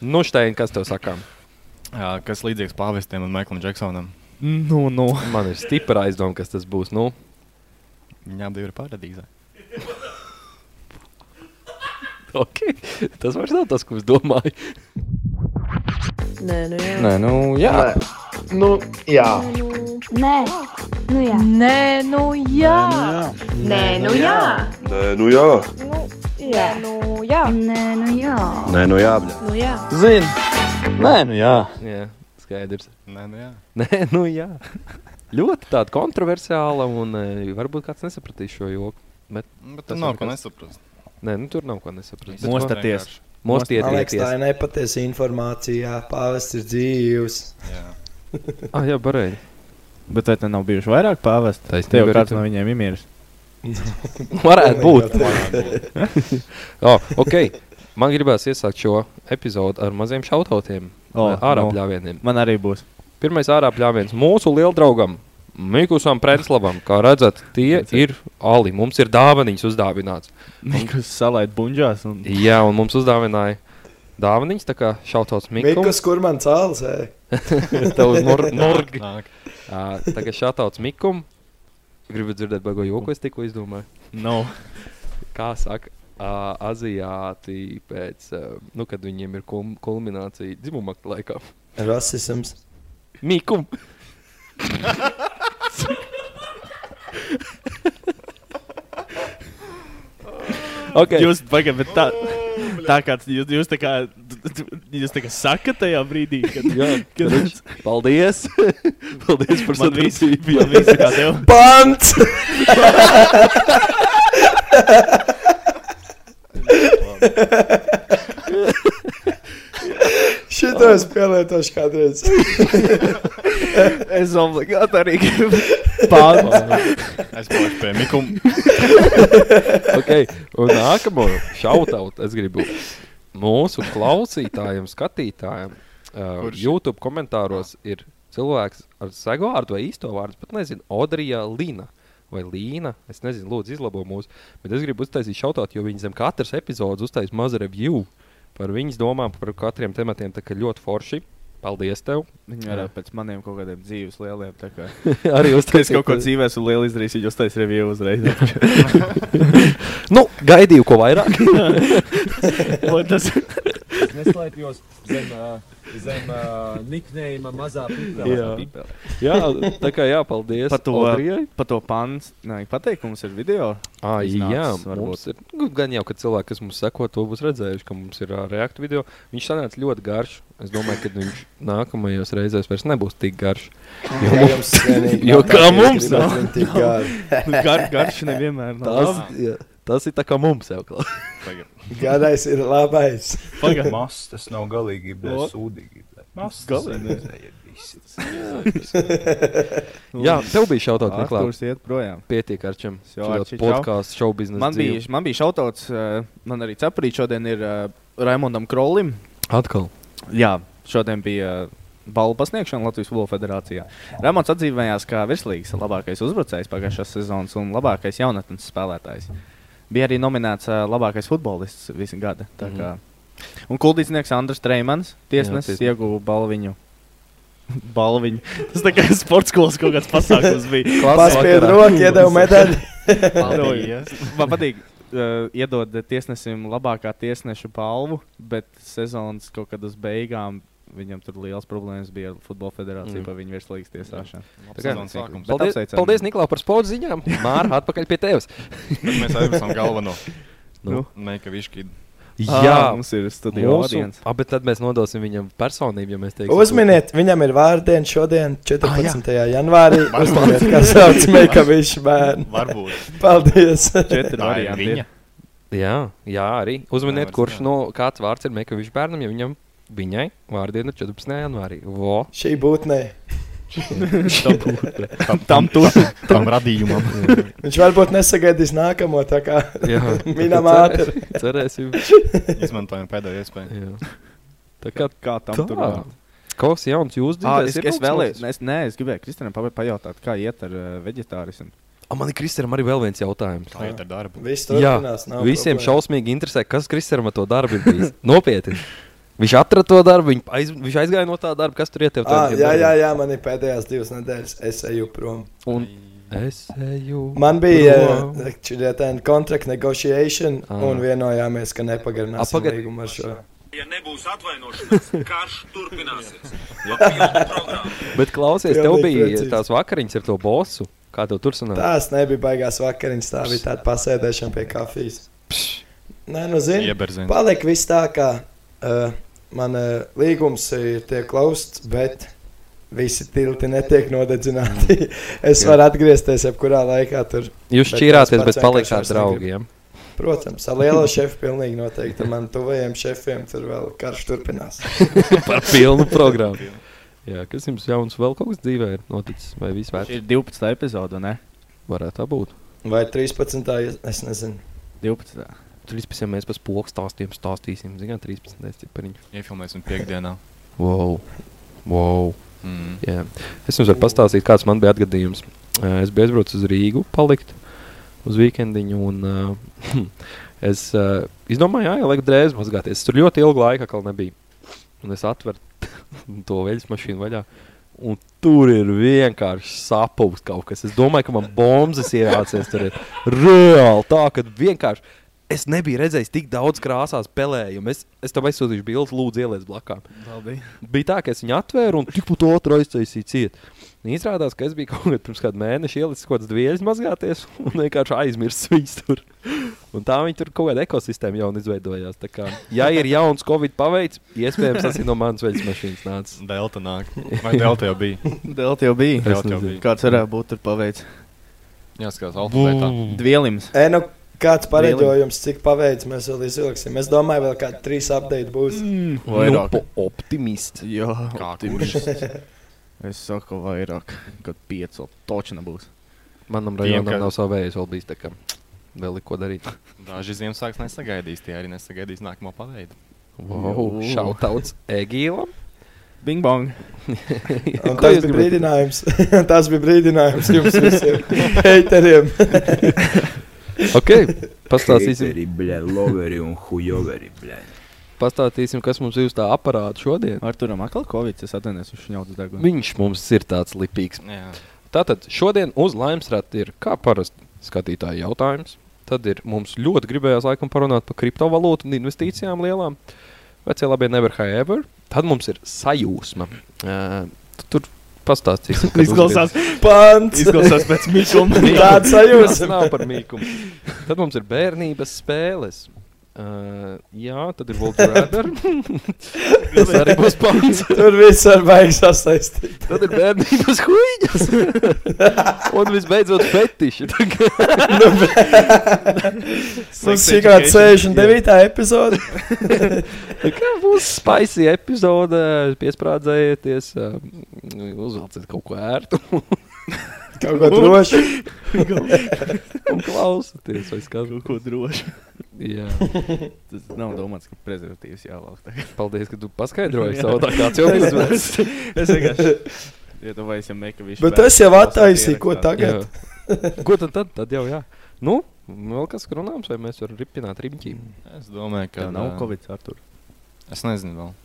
Nu, Šteini, kas tev sakām? Jā, kas līdzīgs pāvestiem un Maiklam Džeksonam. Nu, nu. Man ir stipra aizdomas, kas tas būs. Nu, Viņām divi ir paradīzē. okay. Tas vairs nav tas, ko es domāju. Nē, nu jā. Nē, nu, jā. Nu, jā. Nē, nu jā. Nē, nu jā. Nē, nu jā. Nē, nu jā, Jā, nu jā. Nē, nu jā. Nē, nu jā. Nu jā. Zini, nē, nu jā. Jā, skaidrs. Nē, nu jā. Nē, nu jā. Ļoti tāda kontroversiāla, un e, varbūt kāds nesapratīs šo joku. Nu, Bet Tas tas nav ir ko kas- nesaprast. Nē, nu, tur nav ko nesaprast. Bet Mosta- ko- Mostaties. Mostaties. Mostiet, Man liekas, tā ieties. ir nepatiesa informācija. Pāvests ir dzīvs. Jā. Ah, jā, barēji. Bet vai te nav bijuši vairāk pāvesta? Taisnība, Tev jau Rita. kāds no viņiem imīrs. Varētu būt. Oh, okay. Man gribās iesākt šo episodu ar maziem šautautiem. O, Oh, ārā nu. pļāvieniem. Man arī būs. Pirmais ārā pļāviens mūsu lieldraugam. Mikusam Prenslavam, kā redzat, tie ir ali. Mums ir dāvanas uzdāvināts. Mikus salaid buļģās. Un... Jā, un mums uzdāvināja dāvanas, tā kā šautos Mikus. Mikus, kur man cēlās? Mikus. Nāk. tā kā šauts Mikum. Gribu dzirdēt, bago joku, es tikko izdomāju. No. Kā saka, ā, aziāti pēc, ā, nu, kad viņiem ir kum- kulminācija dzimuma laikā. Rasisms. Mikum. okay. Jūs pagaidiet, bet tā, tā kā jūs, jūs tā kā, jūs tā kā sakat tajā brīdī, kad Jā, Kad- Rič, paldies! paldies par man visi sadarbību! bija visi kā tev. Pants! Šito es pielietošu kādreiz. Es obligāti arī gribu. Pāns. Es būšu pie Mikuma. Okay. Un nākamo šautaut es gribu mūsu klausītājiem, skatītājiem. Uh, Kurš? YouTube komentāros ir cilvēks ar savu vārdu vai īsto vārdu, pat nezinu, Odrija Līna. Vai Līna, es nezinu, lūdzu, izlabo mūsu, bet es gribu uztaisīt šautaut, jo viņi zem katras epizodes uztaisīja mazu review par viņas domām par katriem tematiem. Tā kā ļoti forši. Paldies tev! Viņi varētu pēc maniem kaut kādiem dzīves lieliem. tā kā. Arī Es uztaisīju kaut ko dzīvēs un lielu izdarīju, jūs taisat review uzreiz. Nu, gaidīju, ko vairāk. Un tas Es neslēpjos zem, ā, zem uh, niknējuma mazā pīpēlē. Jā. jā, tā kā jā, paldies. Par to- Audrijai. pa to pāns, nē, pateikums ir video. Ā, iznācis, jā, varbūt. mums ir, nu, gan jau, ka cilvēki, kas mums seko, to būs redzējuši, ka mums ir uh, reaktu video. Viņš sanāca ļoti garš. Es domāju, ka viņš nākamajos reizēs vairs nebūs tik garš. Jo mums- Jums vienīgi Jo nav kā tā, ka mums es gribētu viņu tik gari. Nu, Gar, garš nevienmēr nav. Tas, labi. jā, tas ir tā kā mums jau klāts. Garais ir labais. Pagaid. Mas, tas nav galīgi O. blēs, sūdīgi. blē. Mas, Galīgi. Jā, tev bija šautot, Niklaus. Arktūrs iet projām. Pietiek ar čem. Jau, Arči, čau. Podkāsts, šovu biznesa. Man bija, man bija šautauts, eh, man arī ceprīt šodien ir eh, Raimondam Krolim. atkal. Jā, šodien bija eh, balvu pasniegšana Latvijas Volo Federācijā. Rēmons atzīmējās kā virslīgas labākais uzbrucējs pagājušās sezonas un labākais jaunatnes spēlētājs. Bija arī nominēts eh, labākais futbolists visu gada. tā kā. Un kuldīdznieks Andris Treimans, Jā, tiesnesis, tiesnesis. ieguva balviņu. balviņu. Tas tā kā sports skolas kaut kāds pasākums bija. Paspied roku, iedeva medaļu. Paldies. Man patīk. Uh, iedod tiesnesim labākā tiesneša balvu, bet sezonas kaut kad uz beigām viņam tur liels problēmas bija ar Futbola federāciju Mm. mm. par viņu virslīgas tiesāšanu. Labs sezonas sākums. Bet Paldies, apsveicam. paldies Niklaus, par sporta ziņām. Mārā, atpakaļ pie tevis. Mēs aizsam galveno. Nu. Meika Viškīda. Jā, mums ir studija Mūsu, audience. a, bet tad mēs nodosim viņam personību, ja mēs teiksim, Uzminiet, viņam ir vārdiena šodien, 14. Ah, janvārī. Uzminiet, kā sauc Meikaviča bērnu. Varbūt. Paldies! Tā ir Četri varianti. ir. viņa. Jā, jā arī. Uzminiet, Nevar kurš zināt. no kāds vārds ir Mekavičs bērnam, ja viņam viņai vārdiena ir 14. janvārī. Vo. Šī būtne. Tam tur Tam radījumam. Viņš varbūt nesagaidīs nākamo, tā kā Jā, minam tā kā ātri. cerē- Cerēsim. Izmantojam pēdējo iespēju. Jā. Tā kā kā tam tā. tur bija. Kaut kas jauns jūs Ah, es, dzirdēsiet. es, vēlēju, es, nē, es gribēju Kristīnam pa- pajautāt, kā iet ar uh, vegetārismu. Man ir Kristēram arī vēl viens jautājums. Tā ir ar darbu. Viss Jā, turpinās. nav visiem problēmu. šausmīgi interesē, kas Kristēram ar to darbu ir bijis. Nopietni. Viņš atrada to darbu, viņa aiz, viņš aizgāja no tā darba, kas tur ieteicis. Ah, jā, jā, jā, man ir pēdējās divas nedēļas, es eju prom. Un es eju. Man bija eh, prom. tāda kontrakta negotiācija, Ah. un vienojāmies, ka nepagarinās Apagad- līgumu ar šo. Ja nebūs atvainošanās, karš turpināsies. Papildu programma. Bet klausies, tev Pilnīgi bija precīzi. tās vakariņas ar to bosu. Kā tev tur sanāca? Tās nebija baigās vakariņas, tā bija tāda pasēdēšana pie kafijas. Nē, nu zini, Ieberzina. palika viss tā, kā uh, man uh, līgums ir tiek klausts, bet visi tilti netiek nodedzināti. es Jā. varu atgriezties jebkurā laikā tur. Jūs Bet šķirāties, es pats bet palikāt vienkārši vairs negribu. draugiem. Protams, ar lielo šefu pilnīgi noteikti. Man tuvajiem šefiem tur vēl karš turpinās. Par pilnu programmu. Jā, kas jums jauns vēl kaut kas dzīvē ir noticis? Vai viss Šī vērts? ir 12. epizode, ne? Varētu tā būt. Vai 13. ja- es nezinu. 12. 13. mēs pēc pogas stāstiem stāstīsim. Zinām, 13. cipariņš. Iefilmēsim piekdienā. Wow! wow. Mm. Jā. Es jums varu pastāstīt, kāds man bija atgadījums. Eh, Es biju aizbraucis uz Rīgu, palikt uz weekendiņu, un uh, es uh, izdomāju, jā, ielikt drēbes mazgāties. Es tur ļoti ilgu laiku atkal nebija. Un es atveru to veļas mašīnu vaļā. Un tur ir vienkārši sapūst kaut kas. Es domāju, ka man bombas ievācies tur. Ir. Reāli tā, ka vienkārši es nebiju redzējis tik daudz krāsās pelējumu. Es, es tev aizsūtīšu bildes, lūdzu, ieliec blakām bija tā, ka es viņu atvēru un tiku to otru aiztaisīju ciet. Un Izrādās, ka es biju kaut kādā pirms kāda mēneša ielicis kaut kādas dvieļas mazgāties un vienkārši aizmirsu viņas tur. Un tā viņi tur kaut kāda ekosistēma jaunu izveidojās. Tā kā, ja ir jauns Covid paveids, iespējams, tas ir no manas veļas mašīnas nācis. Delta nāk. Vai Delta jau bija? Delta jau bija. Es Delta jau nezinu. bija. Kāds varētu būt tur paveicis? Jāskatās alfabētā. Dvielims. E, nu, kāds pareģojums, cik paveicis mēs vēl izvilksim? Es domāju, vēl kādi trīs update būs. Nu, Vairāk. po optimists. Jā, Kā optimists. kurš? Es saku vairāk, kad pieci točina būs. Manam Tiem, rajonam ka- nav savu vēju, vēl bijis tā kā vēl ir ko darīt. Daži Ziemassvētku nesagaidīs, tie arī nesagaidīs nākamo paveidu. Wow, Jū. šautauts Egīlam. Bing bong. Un Ko tas jūs bija gribat? brīdinājums. tas bija brīdinājums jums visiem heiteriem. Ok, pastāstīsim, Хейтеры, бля, ловеры, он хуёверы, бля. pastāstīsim, kas mums ir uz tā aparāta šodien. Ar turam atkal Covid, es atvainojos, viņš ņaudas degunu. Viņš mums ir tāds lipīgs. Jā. Tātad šodien uz laimes rāta ir kā parasti skatītāji jautājums. Tad ir mums ļoti gribējās laikam parunāt par kriptovalūtu un investīcijām lielām. Vecie labie never have ever. Tad mums ir sajūsma. Ā, tu- Tur pastāstīsim, kad Izklausās, Pants! izklausās pēc mīkuma. Tāda Jūs sajūta. nav par mīkumu. Tad mums ir bērnības spēles. Uh, jā, tad ir Volkswagen. Tas arī būs pants. Tur viss var baigs sasaistīt. Tad ir bērnības huīņas. Un visbeidzot, fetiši. Tā kā- Mums ir kāda 69. epizode. Kā būs spēcīga epizode, piesprādzējieties, um, uzvelciet kaut ko ērtu Kaut ko droši. un klausieties, vai nu, skatāties. Ko droši. Jā, Tas nav domāts, ka prezervatīvs jāvelk. tagad. paldies, ka tu paskaidroji savu tā kāds jau uzvedas. Es vienkārši. Ja tu vairs jau mekavišķi. Bet es jau attaisīju, ko tagad. Ko tad, tad, tad jau jā. Nu, vēl kas runāms, vai mēs varam ripināt ripķī? Es domāju, ka Tev nav ā, Covid, Artur. Es nezinu vēl.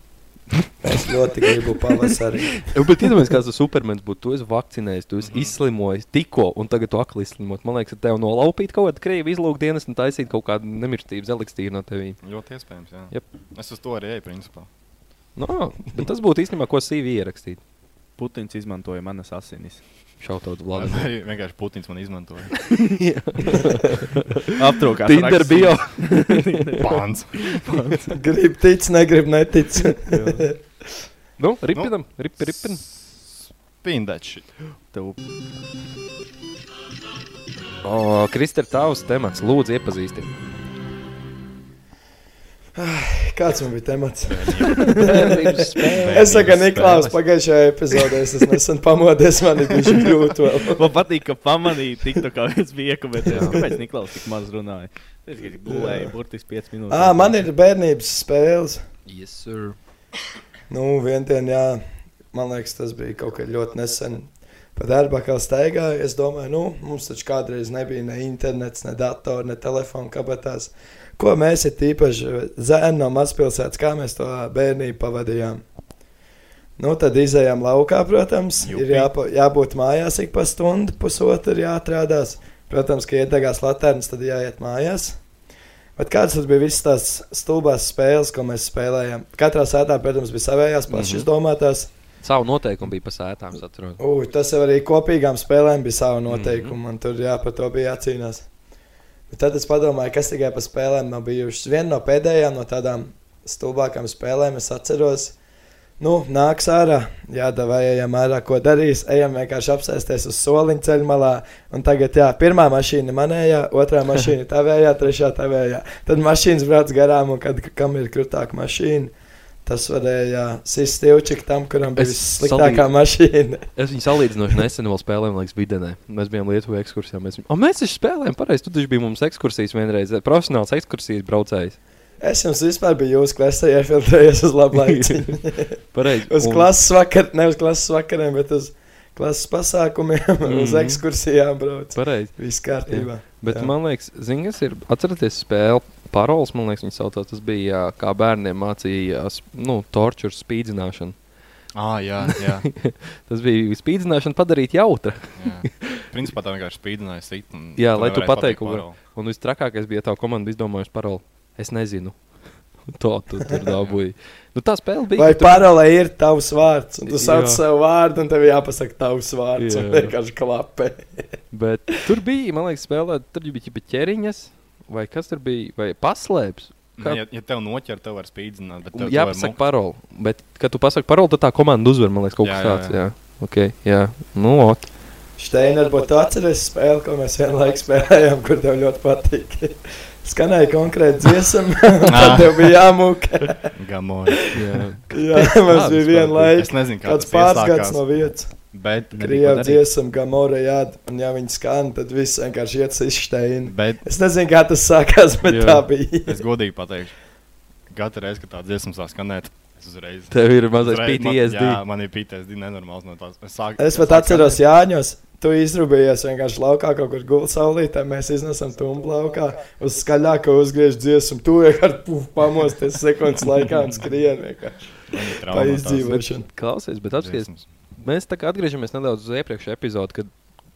Es ļoti gribu pavasarī. Bet iedomājieties, kāds tas supermens būtu. Tu esi vakcinējis, tu esi izslimojis tikko, un tagad tu akli izslimot. Man liekas, ka tev nolaupīt kaut kādu krievu izlūkdienas un taisīt kaut kādu nemirstības elikstīru no tevis. Ļoti iespējams, jā. Jep. Es uz to arī eju, principā. No, bet tas būtu īstenībā, ko CV ierakstīt. Putins izmantoja manas asinis. Šautot Vai Vladimiram. arī vienkārši Putins man izmantoja. Aptrūkā. Tinder bio. Pāns. Gribu tic, negribu netic. Nu, ripinam, nu, rip, ripin. Spindači. O, Krister, tavs temats, lūdzu, iepazīsti. Kāds man bija temats? Bērnības Es saku, Niklaus, spēles. pagājušajā epizodē es esmu nesen pamodies, man ir bijis grūti vēl. Man patīk, ka pamanīja, tik tā kā viens bija iekavējies. Kāpēc Niklaus tik maz runāja? Es gribu gulēju, burtiski 5 minūtes. Ā, Ah, man ir bērnības spēles. Yes, sir. Nu, vienotien, jā, man liekas, tas bija kaut kā ļoti nesen. Pa darbu kā staigāju, es domāju, nu, mums taču kādreiz nebija ne internets, ne datora, ne telefona kabatās. Ko mēs esam īpaši zēni no mazpilsētas, kā mēs to bērnību pavadījām? Nu, tad izējām laukā, protams, Jupi. ir jāpa, jābūt mājās ik pa stundu, pusotru jāatrādās. Protams, ka iedegās latērnas, tad jāiet mājās. Bet kādas tas bija visas tās stulbās spēles, ko mēs spēlējām? Katrā sētā, protams, bija savējās pašas Mhm. izdomātās. Savu noteikumu bija par sētām, saprotu. Ui, tas jau arī kopīgām spēlēm bija sava noteikuma, mm -hmm. un tur jā, par to bija jācīnās. Bet tad es padomāju, kas tikai par spēlēm nav bijušas. Viena no pēdējām no tādām stulbākām spēlēm es atceros. Nu, nāks ārā, jādara, ejam ārā, ko darīs. Ejam vienkārši apsēsties uz soliņa ceļa malā. Un tagad, jā, pirmā mašīna manējā, otrā mašīna tavējā, trešā tavējā. Tad mašīnas brauc garām, un kad kam ir krūtāka mašīna, tas varēja sist stilčik tam, kuram bija sliktākā mašīna. Es viņu salīdzinoši nesen vēl spēlēju, liekas, bidenē. Mēs bijām Lietuvā ekskursijā. Mēs, viņu... o, mēs taču spēlējām, pareizi. Tu taču biji mums ekskursijas vienreiz, eh, profesionāls ekskursijas braucējs. Es jums vispār biju jūsu klasē, iefiltrējies uz labu laiku. Pareizi. uz Un- klases vakar, ne uz klases vakariem, bet uz klases pasākumiem, mm -hmm. uz Mhm. ekskursijām brauc. Pareizi. Viss kārtībā. Jā. Bet, Jā. jā. man liekas, zināms, ir atcerieties spēli. Paroles, man liekas, viņas saucās. Tas bija kā bērniem mācījās, nu, torture spīdzināšana. Ah, jā, jā. tas bija spīdzināšana padarīt jautra. Jā. Principā tā vienkārši spīdināja sīkumu. Jā, lai tu pateiktu, ko. Un viss trakākais bija tā komanda izdomājusi paroli. Es nezinu. To tu tur dabūji. nu, tā spēle bija. Vai ka tu- parolē ir tavs vārds? Un tu sauc Jā. savu vārdu, un tev jāpasaka tavs vārds. Jā. Un Jā. vienkārši klapē. Bet tur bija, man liekas, spēlē, tur bija ķipa ķēriņas, vai kas tur bija, vai paslēpes. Kā... Nu, Ja, ja tev noķer, tev var spīdzināt. bet tev- tev Jā, var pasaka mukt. paroli. Bet, kad tu pasaki paroli, tad tā komanda uzvar, man liekas, kaut Jā, kas jā, tāds. jā. Jā, ok. Jā, nu, ot. Steiner, bet tu atceries spēli, ko mēs vienlaikus spēlējām, kur tev ļoti patīk. Skanēja konkrēti dziesma, un tad tev bija jāmūka. Gamora. Jā. Jā, mums bija viena laika. Es nezinu, kā kāds tas pārskats iesākās, no vietas. Bet nebija ko Krievijas darīt. dziesma, Gamora, jā, un ja viņi skan, tad viss vienkārši iet uz steinu. Bet- Es nezinu, kā tas sākās, bet jā. tā bija. es godīgi pateikšu, katru reizi, kad tā dziesma sāk skanēt, es uzreiz. Tev ir mazais uzreiz- man- PTSD. Jā, man ir PTSD nenormāls no tās. Es, sāk, Es pat atceros, Jāņos, tu izrūpējies vienkārši laukā, kaut kur gulsaulītē. Mēs iznesam tumbu laukā, uz skaļāko uzgriež dziesmu, tu vienkārši puf, pamosties sekundes laikā un skrien vienkārši. Pa izdzīvošanu. Bet Klausies, bet apskaties, mēs tā kā atgriežamies nedaudz uz iepriekšējo epizodi, kad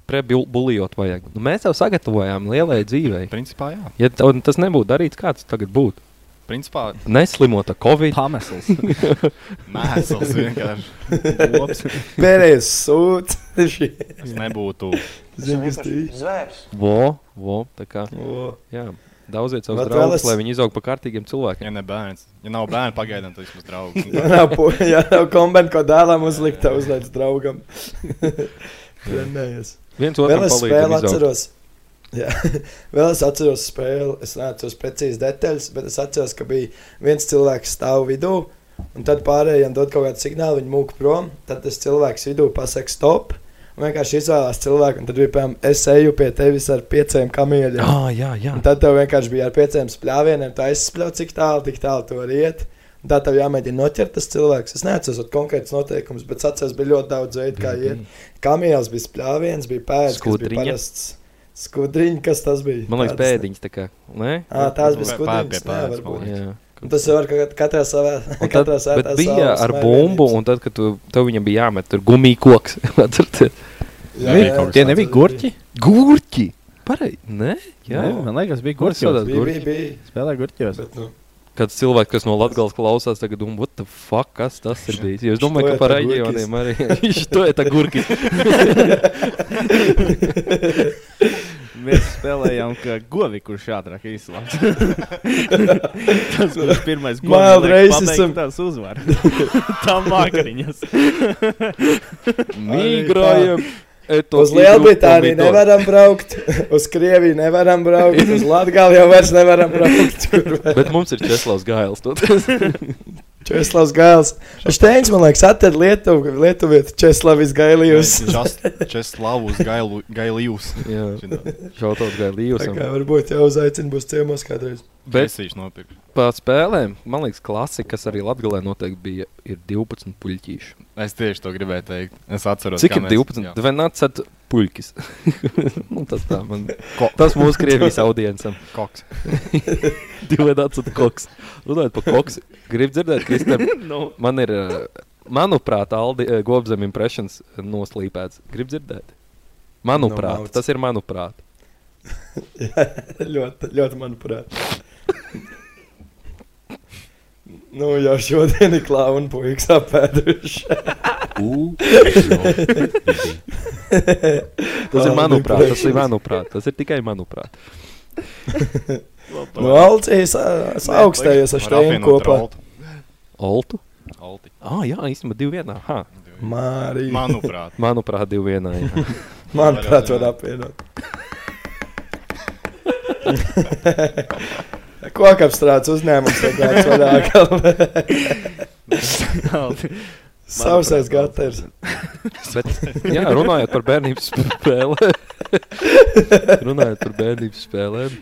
prebuļot vajag. Nu, mēs jau sagatavojām lielai dzīvei. Principā, jā. Ja tev tas nebūtu darīts, kāds tagad būtu? Principā- Neslimota Covid. Pamesls. Mēsls vienkārši. Lops. Pēdējais sūds. Es nebūtu. Zini, kas tu esi? Zvērs. Vo, vo, tā kā. Vo. Jā, daudziet savus Bet vēl draugus, es- lai viņi izaug par kārtīgiem cilvēkiem. Ja ne bērns, ja nav bērnu pagaidām, tad vismaz draugs. Ja nav, po- ja nav kombinācijas, ko dēlam uzlikt, tad uzliek draugam. Trenējies. Viens otram Vēl es palīdzam spēli izaugt. atceros. Jā, vēl es atceros spēli. Es neatceros precīzi detaļas, bet es atceros, ka bija viens cilvēks stāv vidū, un tad pārējiem dod kaut kādu signālu, viņi mūk prom. Tad tas cilvēks vidū pasakā stop. Un vienkārši izvēlējās cilvēku, un tad bija piemēram, es eju pie tevis ar pieciem kamieļiem. Ah, jā, jā. Un tad tev vienkārši bija ar pieciem spļāvieniem, tā aizspļauj, cik tālu, cik tālu tu vari iet. Un Tā tev jāmēģina noķert tas cilvēks. Es neatceros konkrētus noteikumus, bet es atceros, bija ļoti daudz veidu, kā iet. Kamielas bija spļāviens, bija pēdas, kas Mhm. bija Skudriņa. parasts. Skudriņa, kas tas bija? Man liekas, Pēdas, pēdiņas tā kā. Nē, Ā, tās bija Pē- skudriņas, pē- pē- jā, pēdas, varbūt. man liekas. Un tas jau var kat- katrā savā. Un Tad, katrā sētā bet bija savas ar smaiļienības. bumbu, un tad, kad tu, tev viņam bija jāmet tur gumija koks, atcerieties? Jā, Nebija jā, kaut kas Tie nebija gurķi? Gurķi! Pareizi! Nē, jā, Nē, man liekas, bija Kur gurķos. saucās gurķi? Spēlēja gurķos. Bet, nu, Kāds cilvēks, kas no Latvijas klausās, tagad domā, what the fuck, kas tas ir bijis? Jo es domāju, ka Što je par ta reģioniem arī. gurkis? Što ir tā gurki? Mēs spēlējām, ka govi, kurš ātrāk izslēdz. tas, kurš pirmais Mild gobs, racism. tas uzvar. Tam vakariņas. Migrējam. eto Uz igru Lielbritāniju pomidoru. nevaram braukt, uz Krieviju nevaram braukt, uz Latviju jau vairs nevaram braukt. Bet mums ir Česlavs Gāls. Česlavs Gāls. Šteins, man liekas, atrada Lietuvu, Lietuvietu Česlavis Gailījus. Česlavus Gailījus. Jā, šautavs Gailījus. Tā kā varbūt jau uzaicina būs ciemos kādreiz. Bet Česīšu nopirku. par spēlēm, man liekas, klasika, kas arī Latvijā noteikti bija, ir 12 puļķīši. Es tieši to gribēju teikt. Es atceros, Cik kā ir mēs- 12? jā. Vai nācat puļķis. nu, tas tā, man, tas mūsu Krievijas audiencam. Koks. Divi atsūta koks. Runājot par koks, grib dzirdēt, Kristēn, no. man ir, ā, manuprāt, Aldi ā, Gobzem impressions eh, noslīpēts. Grib dzirdēt? Manuprāt, no, Nu, mauc. tas ir manuprāt. ļoti, ļoti manuprāt. nu, jau šodien ir klauna puikas apēduši. tas ir manuprāt, tas ir manuprāt, tas ir tikai manuprāt. Nu, Alcijas augstējies ar šteinu kopā. Oltu? Alti. Ah, jā, īstenībā divi vienā. Ha. Mārija. Manuprāt. Manuprāt, divi vienā. jā. Manuprāt, var apvienot. Kokapstrādes uzņēmums ir kāds vairāk. Savsais gatavs. Bet, jā, runājot par bērnības spēlēm. runājot par bērnības spēlēm.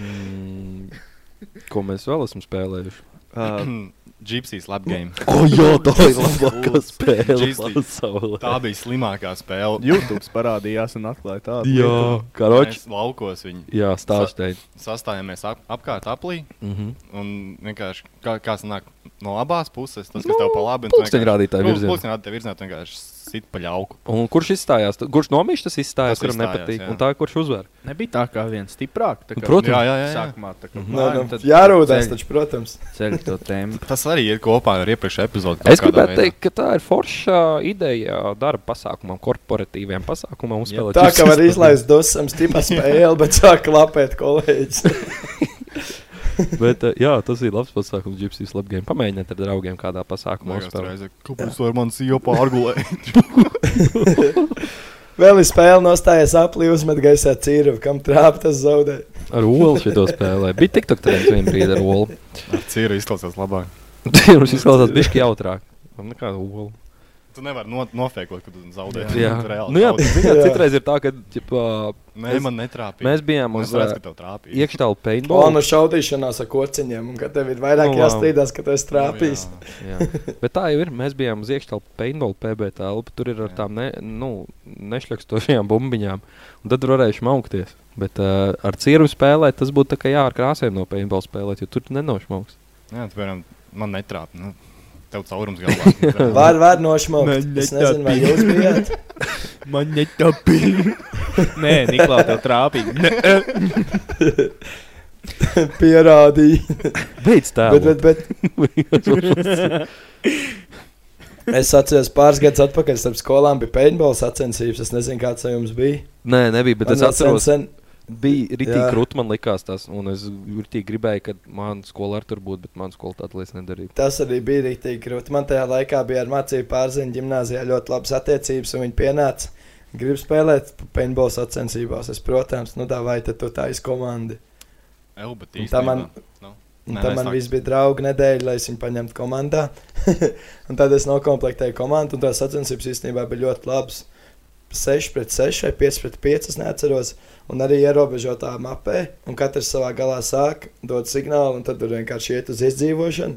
Mm, ko mēs vēl esam spēlējuši? Gypsies lab game. O, jā, tā ir labākā Gypsies. spēle Gypsies. pasaulē. Tā bija slimākā spēle. YouTube parādījās un atklāja tādu. Jā, lietu. karoči. Mēs Laukos viņi. Jā, stāstēji. Sa sastājāmies ap, apkārt aplī. Mhm. Un vienkārši kā, kā sanāk no abās puses, tas, kas nu, tev pa labi. un tu pulksteņrādītāja vienkārši- nu, virzienā. Pulksteņrādītāja virzienā tu vienkārši sit pa ļauku. Un kurš izstājās? Tu- Kurš nomira tas izstājās, Tas kuram izstājās, nepatīk? jā. Un tā, kurš uzvar? Nebija tā kā viens stiprāk. tā kā- Protams. jā, jā, Mhm. Nu, jā. Sākumā tā kā nu, plāni, tad ceļ- Ceļ to tēmu. Tas arī ir kopā ar iepriekšējo epizodi. Es gribētu teikt, ka tā ir forša ideja darba pasākumam, korporatīviem pasākumam. uzspēlēt Tā kā var Gypsies. izlaist dusmām, stipra spēle, bet sāk klapēt kolēģis. Bet, eh, jā, tas ir labs pasākums. Gypsies labi game. Pamēģiniet ar draugiem kādā pasākumā. Beigās uzspēlēt. reizē, Kāpēc tu ar mani sijopā argulēji? Vēl ir spēle nostājies aplī, uzmet gaisā cīru, kam trāpa tas zaudē. Ar olu šito spēlē. Bija tik tāds viens brīdis ar olu. Cīra izklausās labāk. Tur viņš izklausās bišķi jautrāk. Man nekāda olu. Tu nevari no, nofēkot, kad tu zaudē. Jā, Tu reāli nu, jā zaudē. zināt, citreiz ir tā, ka. Ģipā, Nē, man netrāpīja. Mēs bijām uz Es redzu, ka tev trāpīja. iekštālu Plāno paintballu. šaudīšanās ar kociņiem, un kad tev ir vairāk Nu, nu, labi. jāstrīdās, ka tu esi trāpījis. Jā. Bet tā jau ir. Mēs bijām uz iekšālu paintballu PB telpu. Tur ir ar tām ne, nu, nešļakstošajām bumbiņām. Un tad varēja šmaukties. Bet uh, ar cīru spēlēt, tas būtu tā kā jā, ar krāsēm no paintballu spēlēt, jo tur nenošmauks. Jā, tu piemēram, man netrāp. Nu, tev caurums galvā. Nu, Var, var nošmaukt. Es nezinu, vai jūs bijāt. Man netrāpīja. Nē, Niklā, tev trāpīja. Nē. Pierādīja. Beidz tā. Bet, bet, bet. es atceros, pāris gadus atpakaļ starp skolām bija paintball sacensības. Es nezinu, kāds ar jums bija. Nē, nebija, bet Man es vēl atceros, sen- bija rītīgi Jā. krūti, man likās tas, un es rītīgi gribēju, ka mana skola ar tur būtu, bet mana skola tādu lietu nedarīja. Tas arī bija rīktīgi grūti. Man tajā laikā bija ar mācību pārziņu gimnājā ļoti labas attiecības, un viņi pienāca. Gribu spēlēt paintball sacensībās. Es, protams, nu tā vai tad tu tā izkomandi. Eju, bet Un tā man, īstenībā, nu, un nē, tā nē, man sāk. viss bija draugu nedēļa, lai es viņu paņemtu komandā. un tad es noklāpēju komandu, un tās sacensības īstenībā bija ļoti labas. 6 pret 6 vai 5 pret 5, es neatceros, un arī ierobežotā mapē. Un katrs savā galā sāk dot signālu, un tad tur vienkārši iet uz izdzīvošanu.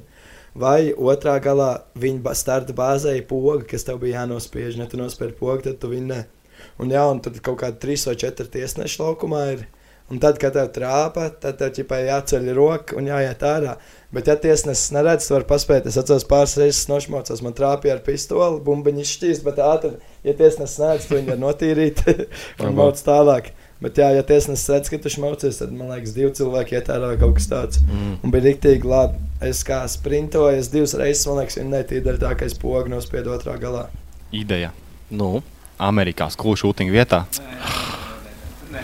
Vai otrā galā viņa ba- starta bāzē ir poga, kas tev bija jānospiež. Ja tu nospiež pogu, tad tu viņu ne. Un, jā, un tad kaut kāda trīs vai četri tiesneši laukumā ir. Un tad, kad tev trāpa, tad tev ķipai jāceļ roka un jāiet ārā. Bet, ja tiesnesis neredz, tu vari paspēt. Es atceros, pāris reizes nošmaucās, man trāpīja ar pistoli, bumbiņš šķīst, bet ātri, ja tiesnesis neredz, tu viņu var notīrīt un Labāk. mauc tālāk. Bet, jā, ja tiesnesis redz, ka tu šmaucies, tad man liekas, divi cilvēki iet ārā vai kaut kas tāds. Mm. Un bija rīktīgi labi. Es kā sprintoju, es divas reizes, man liekas, viņa netīra tā, ka es pogu nospiedu otrā galā. Ideja. Nu? Amerikā skolu šūting vietā.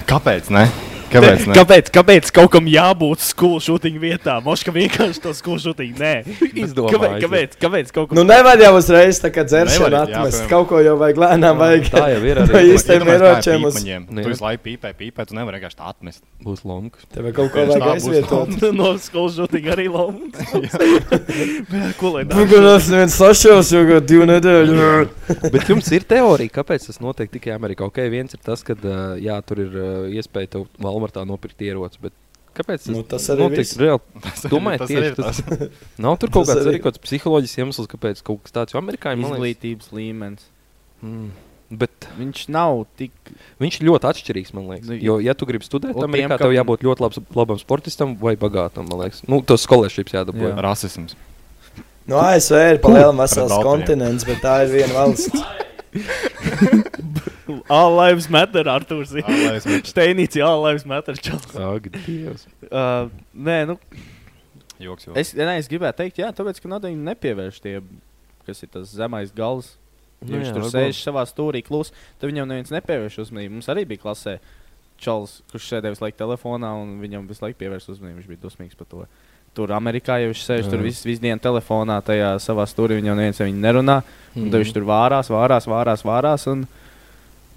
Kāpēc? Ne? Kāpēc? Ne? Kāpēc, kāpēc kaut kam jābūt skolu šūtiņu vietā? Moška vienkārši to skolu šūtiņu nē. Izdomāju. Kāpēc, kāpēc, kāpēc kaut kam? Nu, nevar jau uzreiz tā kā dzēršanu Nevar, jā, atmest. piemēram. Kaut ko jau vajag lēnām, vajag tā jau ir arī. pa īstiem Iedomājies, kā ar ieročiem. uz- pīpaņiem. Nu, jā. Tu visu laiku pīpē, pīpē, tu nevari vienkārši tā atmest. Būs longs. Tev ir kaut ko vajag aizvietot. No skolas šūtiņa arī laumas. Bet Ko lai Nu, ka tas viens sašķels jau gadu divu nedēļu. nu. Bet jums ir teorija, kāpēc tas notiek tikai Amerikā? Ok, viens ir tas, ka jā, tur ir uh, iespēja tev Walmartā nopirkt ieroci. Bet... Kāpēc tas, Nu, tas arī notiek? viss. Reāli, Tas arī- domāju, tas tieši arī tas. tas. Nav tur kaut Tas kāds, arī. arī kāds psiholoģisks iemesls, kāpēc kaut kas tāds jau Amerikā ir. man liekas. Izglītības līmenis. Mm. Bet viņš nav tik. Viņš ir ļoti atšķirīgs, man liekas. Jo, ja tu gribi studēt, Un tad tiem, Amerikā kam- tev jābūt ļoti labs, labam sportistam vai bagātam, man liekas. Nu, tas skolēšības jādabū. Jā. Rasisms. No ASV ir pa Kur? lielam vesels Pret Baltiem. kontinents, bet tā ir viena valsts. All lives matter, Arthurs. All lives matter. Steinīts, all lives matter. čels. Ak, Dievs. Uh, nē, nu. Joks, joks. Es, nē, es gribēju teikt, jā, tāpēc, ka naudu viņi nepievērš tie, kas ir tas zemais gals. Ja Jā, Nu, viņš jā, tur varbūt. sēž savā stūrī, klūs, tad viņam neviens nepievērš uzmanību. Mums arī bija klasē čels, kurš sēdēja visu laiku telefonā, un viņam visu laiku pievērsa uzmanību. Viņš bija dusmīgs par to. Tur Amerikā jau viņš sēž Jā. tur visu, visu dienu telefonā, tajā savā stūrī, viņam neviens ar viņu nerunā. Un tad Mhm. Nu, viņš tur vārās, vārās, vārās. vārās un...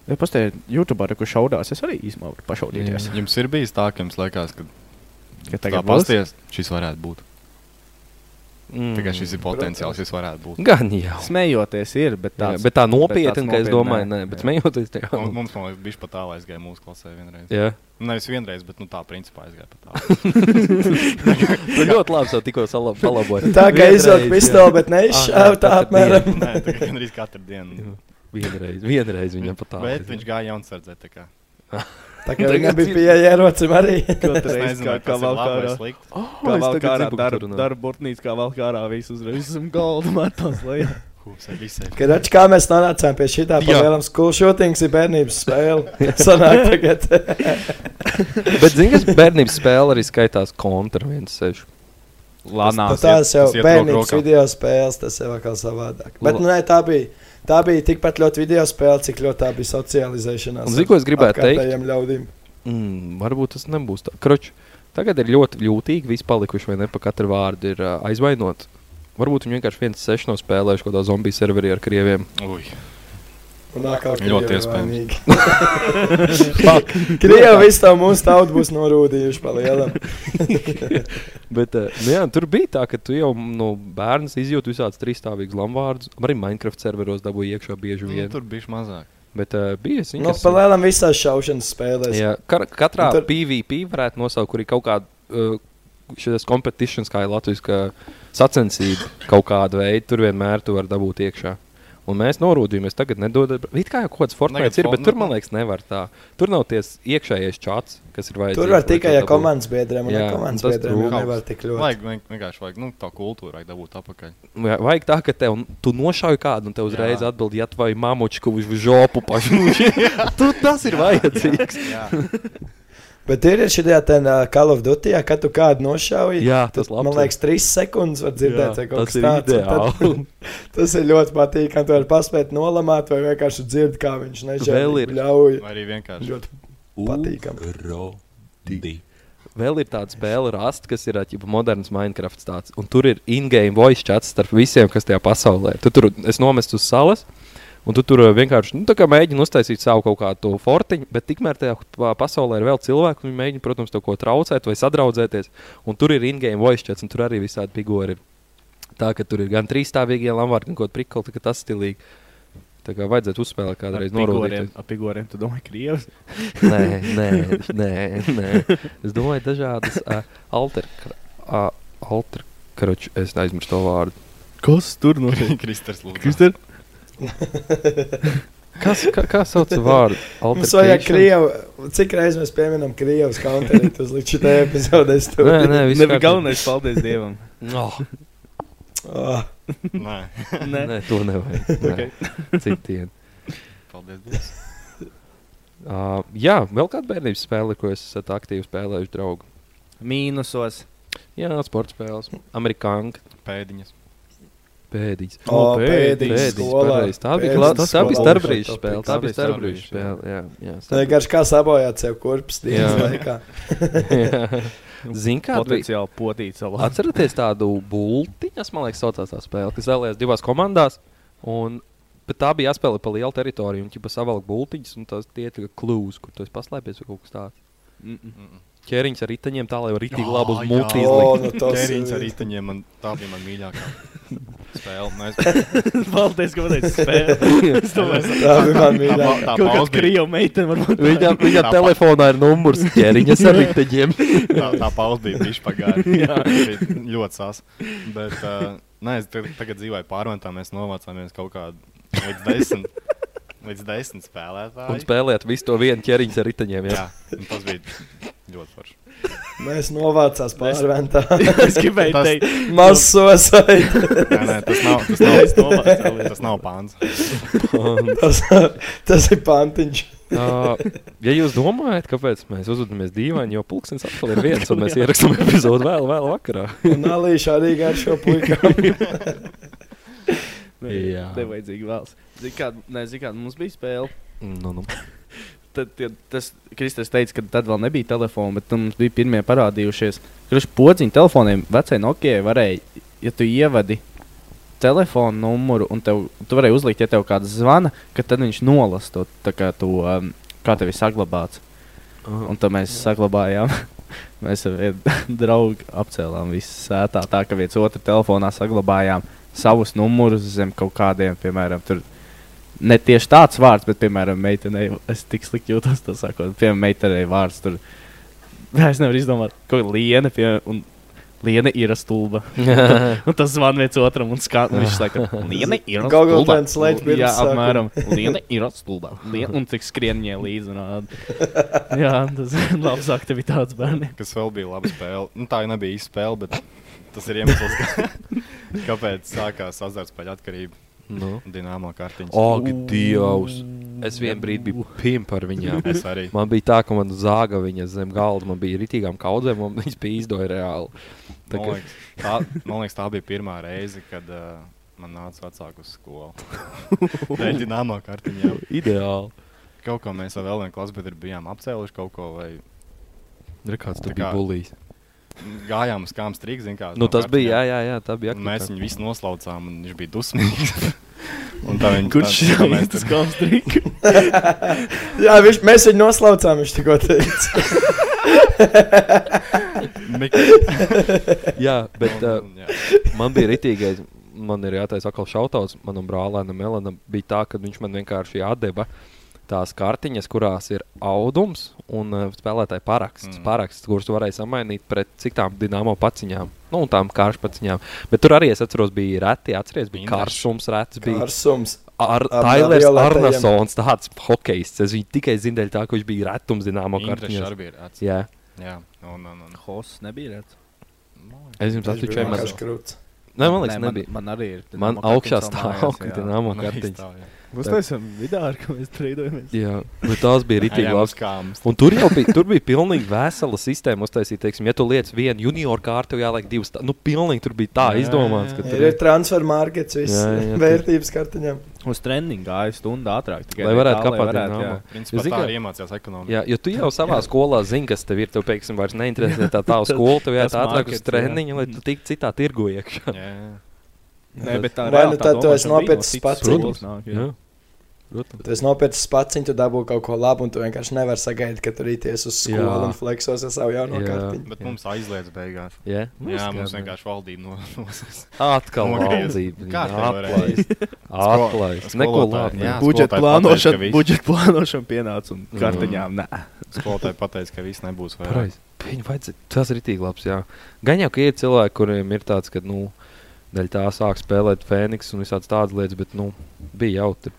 Ja pastāvēju YouTube, kurš šaudās, es arī īstenībā varu pašaudīties. Jums ir bijis tā, ka jums liekas, ka, Ka tā tagad būs? pasties, šis varētu būt. Mm. Tikai šis ir potenciāls, šis varētu būt. Gan jau. Smejoties, ir, bet tā, Jā, bet tā nopietni, ka es domāju, nē, bet smejoties, tā jau. Mums, mums man liekas, bija pat tā, lai es gāju mūsu klasē vienreiz. Jā. Nu, Nevis vienreiz, bet nu, tā principā es gāju pat tā. Nu, ļoti labi, ka tikko sala- palaboji. Tā kā Vienreiz, izjūt jā. pistoli, bet neizšāva Ah, tā jā, katru apmēram. dienu. Nē, tā kā gandrīz katru dienu. Vienreiz, vienreiz viņam pat tā. Bet viņš gāja jaunsardzē. Tā kā Tā kā viņam bija pieeja ierocim arī. Es nezinu, vai tas ir labi vai slikti. Oh, Kā kā vēl vēl kā kārā ārā darbu- darba darb, burtnīca, kā vēl kārā visu uzreiz zem galda metos lejā. Kūpsē visai. Kad redz, kā mēs nonācām pie šī tā Jā. pavēlam, skolu šūtings ir bērnības spēle. Sanāk tagad. Bet, zini, kas bērnības spēle arī skaitās kontra viens sešu. Lanā. Nu, tās jau bērnības video spēles, tas jau atkal savādāk. Bet nu, nē, tā bija. Tā bija tikpat ļoti video spēle, cik ļoti tā bija socializēšanās. Un zini, ko es gribētu teikt? Ļaudīm. Mm, varbūt tas nebūs tā. Kroč, tagad ir ļoti ļūtīgi. Visi palikuši vai ne pa katru vārdu ir uh, aizvainot. Varbūt viņi vienkārši viens sešu no spēlējuši kaut kādā zombiju serverī ar krieviem. Uj. Un atkal Ļoti Krievi iespējams. vainīgi. Fuck. Krievi visu tā mūsu tautu būs norūdījuši pa lielam. Bet, eh, nu jā, tur bija tā, ka tu jau nu, no bērna izjūti visādus trīsstāvīgus lamuvārdus. Arī Minecraft serveros dabūja iekšā bieži Nu, vien. tur bija mazāk. Bet uh, bija es Nu, pa lielam visās šaušanas spēlēs. Jā, kar, katrā Un tad... tad- PVP varētu nosaukt arī kaut kādu uh, šādas competitions, kā ir Latvijas ka sacensība, kaut kādu veidu. Tur vienmēr tu vari dabūt iekšā. Un mēs norūdījāmies, tagad nedodam. It kā jau kaut kāds Fortnite Tagad ir, bet Fortnite- tur, man liekas, nevar tā. Tur nav ties iekšējais čats, kas ir vajadzīgs. Tur var lai tikai to ar dabūtu. komandas biedriem, un Jā, ar komandas un tas biedriem jau trūkst. nevar tik ļoti. Vajag vien- vienkārši vajag, nu, tā kultūra vajag dabūt apakaļ. Jā, Vajag tā, ka tev tu nošauj kādu, un te uzreiz Jā. atbild, ja tu vai mamučku uz žopu pašmuši. tu tas ir vajadzīgs. Jā. Bet ir šī tāda Call of Duty, kad tu kādu nošauji. Jā, tas tad, labs Man ir. liekas, trīs sekundes var Jā, dzirdēt, vai kaut tas kas ir tāds. un ideāli. tas ir ļoti patīkami. Tu vari paspēt nolamāt, vai vienkārši dzird, kā viņš Vēl ir. nežēlīgi ļauj. Vai arī vienkārši. Ļoti patīkami. Rodi. Vēl ir tāda spēle, Rust, kas ir ģipa, moderns Minecraft. Tāds, un tur ir in-game voice chats starp visiem, kas tajā pasaulē ir. Tu tur es nomestu uz salas. Un tu tur eh, vienkārši nu, tā kā mēģini uztaisīt savu kaut kādu to fortiņu, bet tikmēr tajā pa- pasaulē ir vēl cilvēki, un viņi mēģina, protams, to ko traucēt vai sadraudzēties. Un tur ir in-game voice chats, un tur arī visādi figūri ir. Tā ka tur ir gan trīsstāvīgie lamvārdi, gan kaut kāda prikla, tā ka tas stilīgi. Tā kā vajadzētu uzspēlēt kādreiz norūdīt. Ar pigoriem, tu domā, krievis? Nē, nē, nē, nē. Es domāju, dažādas uh, alternatīvas. Uh, es aizmirsu to vārdu. Kas tur notiek? Kristers lūdzu. Krister? Kas, kā, kā sauc vārdu? Mums vajag Altercation? krievu, cik reizes mēs pieminam krievus counterīt uz līdz šitai epizodē. es tev- Nē, nē, viss Nebija kārtībā. galvenais, paldies Dievam. Oh, Ah, Nē, Nē. nē, to nevajag. Nē. Citien. paldies. Dievs. Uh, jā, vēl kāda bērnības spēle, ko es esmu aktīvi spēlējuši draugu. Mīnusos. Jā, sporta spēles. Amerikāņu Pēdiņas. pēdīs. O, pēdiņas skolā. pareizi. Tā bija Pēdiņas la- tā skolā. bija starpbrīža Tā spēle. bija Tā bija starpbrīža starpbrīžu spēle. Jā, jā, Vienkārši kā sabojāt sev kurpes dienas Jā. laikā. starpbrīža. Zini, kāda bija Potenciāli potīt savā. Atcerieties tādu būtiņu, man liekas, saucās tā spēle, kas dalījās divās komandās. Un, bet tā bija jāspēlē pa lielu teritoriju, un ķipa savalk būtiņas, un tas tie ir klūzi, kur tu esi paslēpies vai kaut kas tāds. Ķēriņš ar riteņiem tā, lai var rītīgi labi uz Jā, muti jā. O, izlikt. nu tas ir- Ķēriņš ar riteņiem, man tā bija man mīļākā spēle. Nu, es- Paldies, ka vadēji spēli. Es domāju, Tā bija man Tā pa- mīļākā. tā kaut kāda pauze bija- krievu meitene varbūt. Viņam, Tā viņam pa- telefonā ir numurs ķēriņš ar riteņiem. tā- tā pauze bija bijusi pagājusi. Ļoti sās. Bet uh, nē, es tag- tagad dzīvoju pārventā, mēs novācāmies kaut kādu līdz desmit. Līdz desmit spēlētājiem. Un spēlēt visu to vienu ķēriņu ar riteņiem. Jā, Jā, un tas bija ļoti forši. Mēs novācām pārventā. Es gribēju Tas- teikt. mazos Nē, nē, tas nav- tas nav- Es novācās, tas nav pāns. Pāns. tas, tas ir pantiņš. Uh, ja jūs domājat, kāpēc mēs uzvedamies dīvaini, jo pulkstenis atkal ir viens, un mēs ierakstām epizodu vēl, vēl vakarā. Un Alīša arī garšo puikām. Jā. Nevajadzīgi vēls. Zini, kāda ne, zini, kāda mums bija spēle? Nu, nu. Tad, ja, tas Kristers teica, ka tad vēl nebija telefona, bet nu, mums bija pirmie parādījušies. Kurš podziņu telefoniem vecai Nokijai varēja, ja tu ievadi telefonu numuru un tev, tu varēji uzlikt, ja tev kāds zvana, ka tad viņš nolas to, tā kā tu, um, kā tev ir saglabāts. Aha. Un tad mēs saglabājām. Mēs ar vienu draugu apcēlām visu sētā, tā ka viens otru telefonā saglabājām savus numurus zem kaut kādiem, piemēram, tur. Ne tieši tāds vārds, bet, piemēram, meitenei, es tik slikti jūtos, tas sakot, piemēram, meitenei vārds tur. Es nevaru izdomāt, ko liena, piemēram, un liena ir stulba. un tas zvan viens otram un skan, viņš saka, liena ir Google stulba. Translate pirms Jā, sākuma. apmēram, liena ir stulba. Liena, un cik skrien viņai līdzi. un ād. Jā, tas ir labs aktivitātes bērniem. Kas vēl bija laba spēle. Nu, tā jau nebija īsta spēle, bet tas ir iemesls, kā, kāpēc sākās azartspēļu atkarība. Nu. Dināmā kārtiņa. Ak, Dievs! Es vienā brīdī biju Uhuh. pimps par viņu. Es arī. Man bija tā, ka man zāga viņas zem galda. Man bija rītīgām kaudzēm, un viņas bija izdoja reāli. Tā Man kā- liekas, tā, man liekas, tā bija pirmā reize, kad uh, man nāca vecāku uz skolu. Dināmā kārtiņā. Ideāli. Kaut ko mēs ar vēl vienu klasu biedru bijām apcēluši kaut ko. Vai... Ir kāds tur Tā bija kā- bulīs. Gājām uz kājām strīdus, zināmā Nu, tas bija, jā, jā, jā, tā bija Un Mēs aktivitāte. viņu visu noslaucām, un viņš bija dusmīgs. Un tā viņa Kurš tā, ir tas konstrīks? Jā, viņš, mēs viņu noslaucām, viņš tikko teica. Jā, bet Un- uh, un jā. man bija rītīgais. Man ir jātaisa atkal šautauts manam brālēnam, Elanam. Bija tā, ka viņš man vienkārši atdeva tās kartiņas, kurās ir audums un uh, spēlētāja paraksts. Mm. Paraksts, kurus tu varēji samainīt pret citām dīnāmo paciņām. Nu, un tām karš paciņām. Bet tur arī es atceros, bija reti. Atceries, bija karsums, reti. Karsums. Ar Ar Tailers violetiem. Arnasons, tāds hokejists. Es viņu tikai zinu dēļ tā, ka viņš bija retums dināmo Interešu kartiņās. arī bija reti. Jā. Jā, un, un, un. Hosts nebija redzams. Es jums Tas bija atveju, ka vienkārši krūts. Nē, man liekas, Nē, Nē, man- nebija. man arī ir Man Dinamo augšā kartiņas vēl stāv mājās, augšā jā. Nu, dīnāmo Man arī stāv, jā. kartiņa. Mēs neesam vidāri, ka mēs trīdojamies. Jā, bet tās bija rītīgi Ejam labas. uz kāmas. Un tur jau bija, tur bija pilnīgi vesela sistēma uztaisīta. Teiksim, ja tu liec vienu junioru kārtu, jau jāliek divas. tā- Nu, pilnīgi tur bija tā izdomāts, ka Jā, tur ir transfer markets, viss Jā, jā, tur- vērtības kartiņām. Uz treniņu gāja stundu ātrāk. tikai Lai tā, varētu kāpāt varētu, jā. dīnāmo. Principā Jo zini, tā ka- arī iemācījās ekonomiku. Jā, jo tu jau savā skolā zini, kas tev ir. Tev, piemēram, vairs neinteresē tā tā Tas- skola. Tev tas jāiet ātrāk uz markets, jā. treniņu, lai tu tiktu citā tirgu iekšā. Jā. Nē, bet Vai tā nu reāli tā tad tu esi domāšana bija no nopietns citas pats? skolas nāk, jā. Nu, Protams. Tu esi nopietns pats, tu dabū kaut ko labu, un tu vienkārši nevari sagaidīt, ka tur rīties uz skolu Jā. jā. un fleksos ar savu jauno Jā. kartiņu. Bet mums aizliedz beigās. Jā? jā Mums mums gan- vienkārši valdība no mums. Atkal valdība, jā, atlaist. Atlaist. Neko labu, jā. Budžeta plānošana, budžeta plānošana pienāca un Mm. kartiņām nē. Skolotāji pateica, ka viss nebūs vairs. Pareizi. Viņu vajadzēja. Tas ir tik labs. Jā. Gan jau, ka ir cilvēki, kuriem ir tāds, ka, nu, daļai tā sāk spēlēt Fēniks un visādas tādas lietas, bet, nu, bija jautri.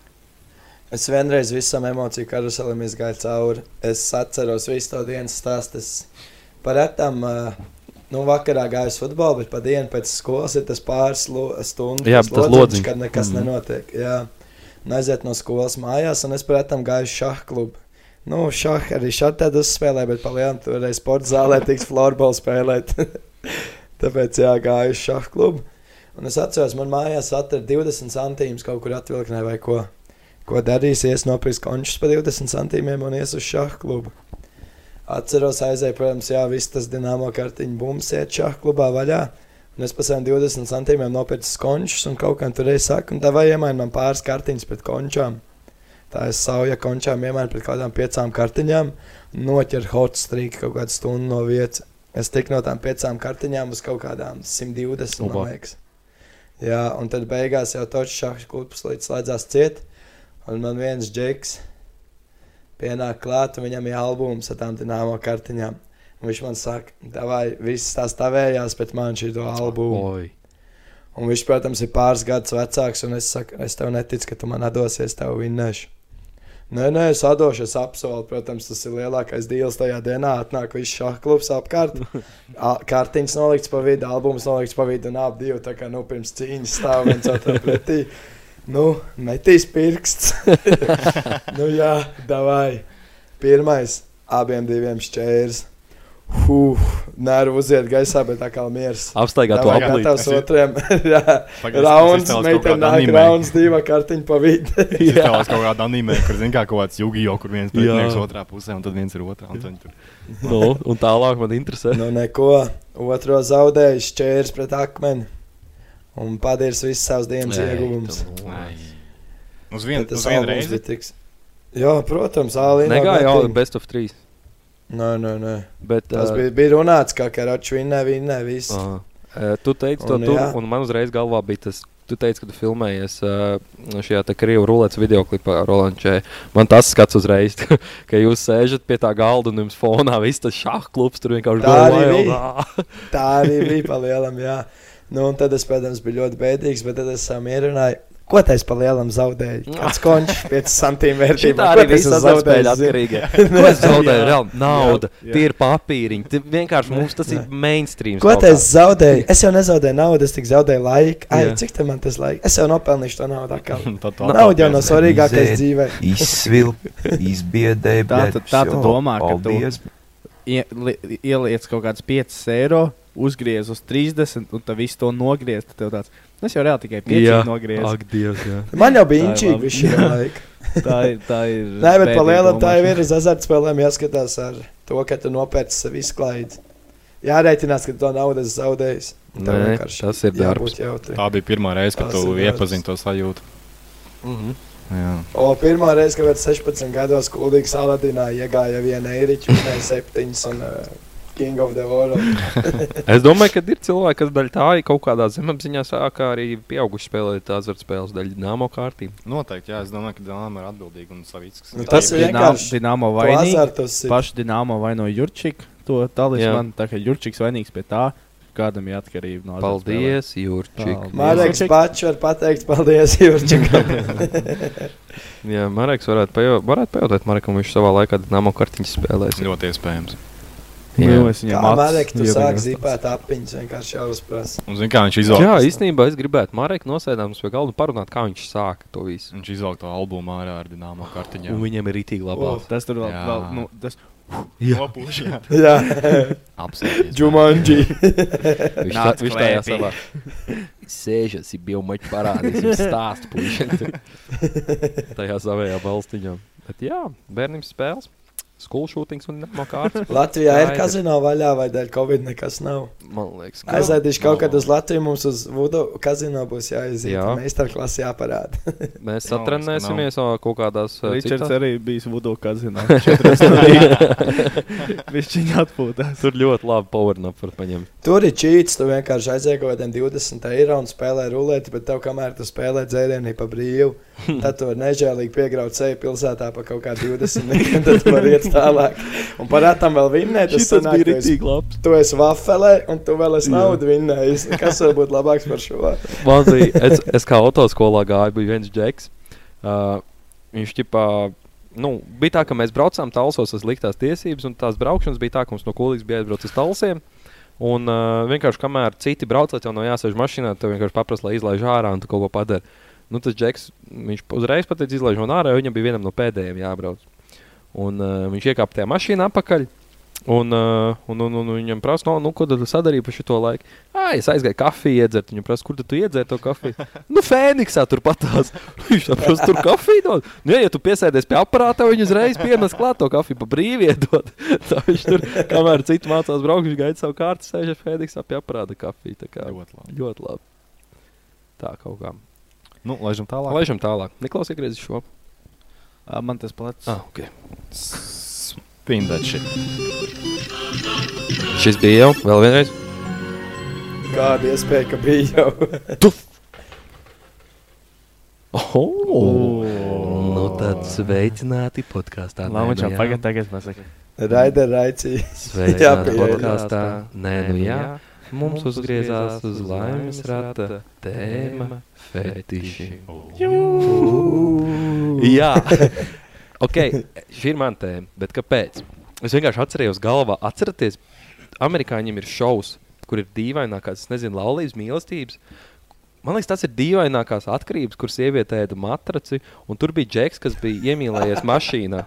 Es vienreiz visam emociju karuselim izgāju cauri. Es atceros visu to dienas stāstu. Es Parētam, nu, vakarā gāju uz futbolu, bet pa dienu pēc skolas ir tas pāris lo- stundu Jā, tas tas lodziņš, lodziņš. kad nekas Mhm. mm. nenotiek. Jā. Un aiziet no skolas mājās, un es, protams, gāju uz šādu klubu. Nu, šādi arī šādi tad uzspēlēju, bet palielināt, tur arī sporta zālē tiks floorbola spēlēt. Tāpēc, jā, gāju uz šādu klubu. Un es atceros, man mājās atrada 20 centīmus kaut kur atvilknē vai ko. Ko darīs, ies nopirks končus par 20 centīmiem un ies uz šādu klubu. Atceros, aizēju, protams, jā, viss tas dināmo kartiņu bums iet šādu klubā vaļā. Un es pēc tam 20 centīmiem nopirku končus un kaut kā tur aizsāku. Un tā vai iemaina man pāris kartiņas pret končām. Tā es sauja končām iemainu pret kaut kādām piecām kartiņām. Noķeru hot streak kaut kādu stundu no vietas. Es tiku no tām piecām kartiņām uz kaut kādām 120. Oba. man liekas. Jā, un tad beigās jau tas šāds klubs līdz slēdzās ciet. Un man viens džeks pienāk klāt, un viņam ir albums ar tām dināmo kartiņām. Un viņš man saka, vai viss tās tavējās, bet man šī to albumu. Oi. Un viņš, protams, ir pāris gadus vecāks, un es saku, es tev neticu, ka tu man atdosies, tev vinnēšu. Nē, nē, es atdošu, es apsolu. Protams, tas ir lielākais dīls tajā dienā. Atnāk viss šāda klubs apkārt. A- Kartiņas nolikts pa vidu, albums nolikts pa vidu, un abi divi tā kā nu, pirms cīņas stāv viens otram pretī. Nu, metīs pirksts. nu, jā, davai. Pirmais, abiem diviem šķērs. Huh, nervu uziet gaisā, bet tā kā miers. Apstaigā to Davai, aplīti. gatavs otriem. jā, Pagaid, rauns, tas izcēlās kaut meitene kādā nāk anime. rauns, divi kartiņi pa vidu. Tas ir kaut kāda anime, kur zina, kā kaut kāds jūgijā, kur viens pretinieks Jā. otrā pusē, un tad viens ir otrā. un tad viņi tur- Nu, un tālāk man interesē. Nu, neko. Otro zaudējis čērs pret akmeni. Un padērs visus savus dienas Ei, ieguvumus. Nu, Uz vienu Tad tas uz vienu albums reizi. bija tiks- Jā, protams, Alīna. Negāja jau best of 3. Nē, nē, nē. Bet, Tas ā, bija, bija runāts, ka Karočs vinnē, vinnē visu. Ā, ā, Tu teici to Un, tur, jā. un man uzreiz galvā bija tas. Tu teici, ka tu filmējies ā, šajā te krievu rulētas video klipā ar Rolančē. Man tas skats uzreiz, ka jūs sēžat pie tā galda un jums fonā viss tas šāda klubs tur vienkārši Tā go arī wild. bija. Tā arī bija pa lielam, jā. Nu, un tad es, protams, biju ļoti bēdīgs, bet tad es samierināju. Ko taisa pa lielam zaudēju? Kāds končs, 5 santīm vērtībā. Tā Ko arī tu viss esi zaudēja zaudējis, zini? atkarīgi. Ko es zaudēju? Jā. Reāli nauda, Jā, jā. tie ir papīriņi. tie Vienkārši mums tas ir mainstream. Ko tas zaudēja? Es jau nezaudēju naudu, es tikai zaudēju laiku. Ai, Jā. cik tā man tas laiks? Es jau nopelnīšu to naudu. atkal. Tad to Nauda jau nav atpelnīsi. svarīgākais Izēd, dzīvē. izsvilp, izbiedēji, Tā bļaļ, tad- tā tad visu. domā, ka tu Paldies, ie- li- ieliec kaut kāds 5 eiro, uzgriez uz 30 un tad visu to nogriez. Tad tev tāds, tas jau reāli tikai 5 nogriez. Man jau bija Tā ir inčīgi labi. viss šī Jā. laika. Tā ir- tā ir Nē, bet pa spēcīga lielam tā jau domāšana. ir uz azartspēlēm jāskatās ar to, ka tu nopērci sev izklaidi. Jārēķinās, ka tu to naudu esi zaudējis. Un tev Nē, vienkārši tas ir jābūt jautri. Tā bija pirmā reize, kad Tas tu ir darbs. iepazini to sajūtu. Mhm. Jā. O, pirmā reize, kad es 16 gados gudīgi saladinā iegāja viena eiriķa, viena septiņas un uh, King of the World. Es domāju, ka ir cilvēki, kas daļai tā ir kaut kādā zemapziņā sākā arī pieauguši spēlēt azartspēles daļu dīnāmo kārtību. Noteikti, jā, es domāju, ka Dāna ir atbildīga un savīgs. Nu, tas ir vienkārši Dienāmo to azartus vainīgs. ir. Pašu Dienāmo vaino Jurčik, to talismanu. Jā. Tā kā Jurčiks vainīgs pie tā, kādam ir atkarība no Paldies, azartspēlēm. Jurčik. Paldies. Mareks pats var pateikt paldies Jurčikam. Jā, Marks varētu, pajo varētu pajautāt, Markam, viņš savā laikā dīnāmo kārtiņu spēlēs. Ļoti iespējams. Jā. Nu, es viņam Kā acis Marek, tu iedegos. sāk zīpēt apiņas, vienkārši jau uzprasa. Un zini, kā viņš izvēlējās. Jā, īstenībā es gribētu Marku nosēdināt pie galda un parunāt, kā viņš sāka to visu. Viņš izvelk to albumu ārā ar dīnāmo kartiņām. Un viņiem ir itī labāk. Tas tur vēl, Jā. vēl nu, tas. Jā. Nopūš, jā. Jā. Apsēties. Džumanji. Viņš tā, Nāc viņš tajā klēpī. savā sēžas, ir bijis mačs parādījis stāstu puiši. tajā savējā balstiņā. Bet jā, bērniem spēles, skolu šūtings un nākamā kārta. Latvijā ir kazino vaļā vai dēļ Covid nekas nav. Man liekas, ka Aizēdīšu Nav. kaut kad uz Latviju, mums uz Vudu kazino būs jāiziet. Jā. Jā. Meistarklasi jāparāda. Mēs Man liekas, ka satrenēsimies ā, kaut kādās ā, Ričards citās- arī bijis Vudu kazinā. Viņš viņu atpūtās. Tur ļoti labi powernap var paņemt. Tur ir čīts, tu vienkārši aizjūti kaut kādiem 20 eiro un spēlē rulēti, bet tev, kamēr tu spēlē dzērienu pa brīvu, Hmm. tad tu vari nežēlīgi piegraut ceļu pilsētā pa kaut kā 20 eiro, un tad tu vari iet tālāk. Un par atam vēl vinnēt, tas Šitas bija tu esi- riktīgi labs. Tu esi vafelē, un tu vēl esi Jā. naudu vinnējis. Kas var būt labāks par šo? Man bija, es, es kā autoskolā gāju, bija viens džeks. Uh, viņš ķipā, nu, bija tā, ka mēs braucām tālsos, tas liktās tiesības, un tās braukšanas bija tā, ka mums no kolīgas bija jāizbrauc uz tālsiem. Un uh, vienkārši, kamēr citi brauc, lai tev nav jāsēž mašīnā, tev vienkārši paprasta, lai izlaiž ārā un tu kaut ko padari. Nu, tas džeks, viņš uzreiz pateica, izlaiž man ārā, jo viņam bija vienam no pēdējiem jābrauc. Un uh, viņš iekāpa tajā mašīnā apakaļ. Un, uh, un, un, un viņam prasa, no, nu, ko tad tu sadarīji pa šo laiku? Ah, es aizgāju kafiju iedzert. Viņam prasa, kur tad tu iedzēri to kafiju? nu, Fēniksā turpat tās. Viņš saprot, tur kafiju dod. Nu, ja, ja tu piesēdies pie aparāta, viņi uzreiz pienes klāt to kafiju pa brīvi iedod. Tā viņš tur, kamēr citi mācās braukt, viņš gaida savu kārtu, sēž ar Fēniksā pie aparāta kafiju. Tā kā Ļoti labi. ļoti labi. Tā kaut kā. Nu, laižam tālāk. Laižam tālāk. Niklaus, iegriezi šo. Ā, Man tas plecs. Ah, okay. Pindači. Šis bija jau vēl vienreiz. Kāda iespēja, ka bija jau? Oh, nu tad sveicināti podkāstā. nu Lamačā, pagad, tagad pasaka. Raida raicīja. Sveicināti pieeja. podkāstā. Nē, nu jā, mums uzgriezās uz laimes rata tēma fetiši. Jū! Jā, ok, šī ir mana tēma. Bet kāpēc? Es vienkārši atcerējos, galvā, atcerieties, amerikāņiem ir šovs, kur ir dīvainākās, es nezinu, laulības mīlestības. Man liekas, tas ir dīvainākās atkarības, kur sieviete ēda matraci, un tur bija džeks, kas bija iemīlējies mašīnā.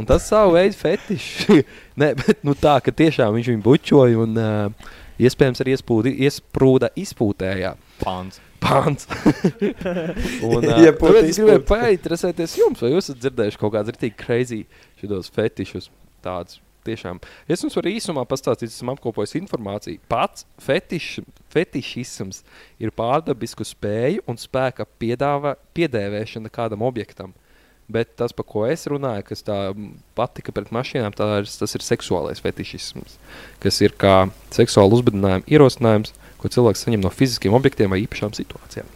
Un tas savu veidu fetišs. Nē, bet nu, tā, ka tiešām viņš viņu bučoja un uh, iespējams arī iespūdi, iesprūda izpūtējā. Pāns. Pāns. un, uh, Ja ja būtu tāpēc es gribēju izpūta. painteresēties jums, vai jūs esat dzirdējuši kaut kādus rītīgi crazy šitos fetišus. Tādus. Tiešām. Es jums varu īsumā pastāstīt, esmu apkopojis informāciju. Pats fetiš, fetišisms ir pārdabisku spēju un spēka piedāvā, piedēvēšana kādam objektam. Bet tas, par ko es runāju, kas tā mm, patika pret mašīnām, tā ir, tas ir seksuālais fetišisms, kas ir kā seksuāla uzbudinājuma ierosinājums, ko cilvēks saņem no fiziskiem objektiem vai īpašām situācijām.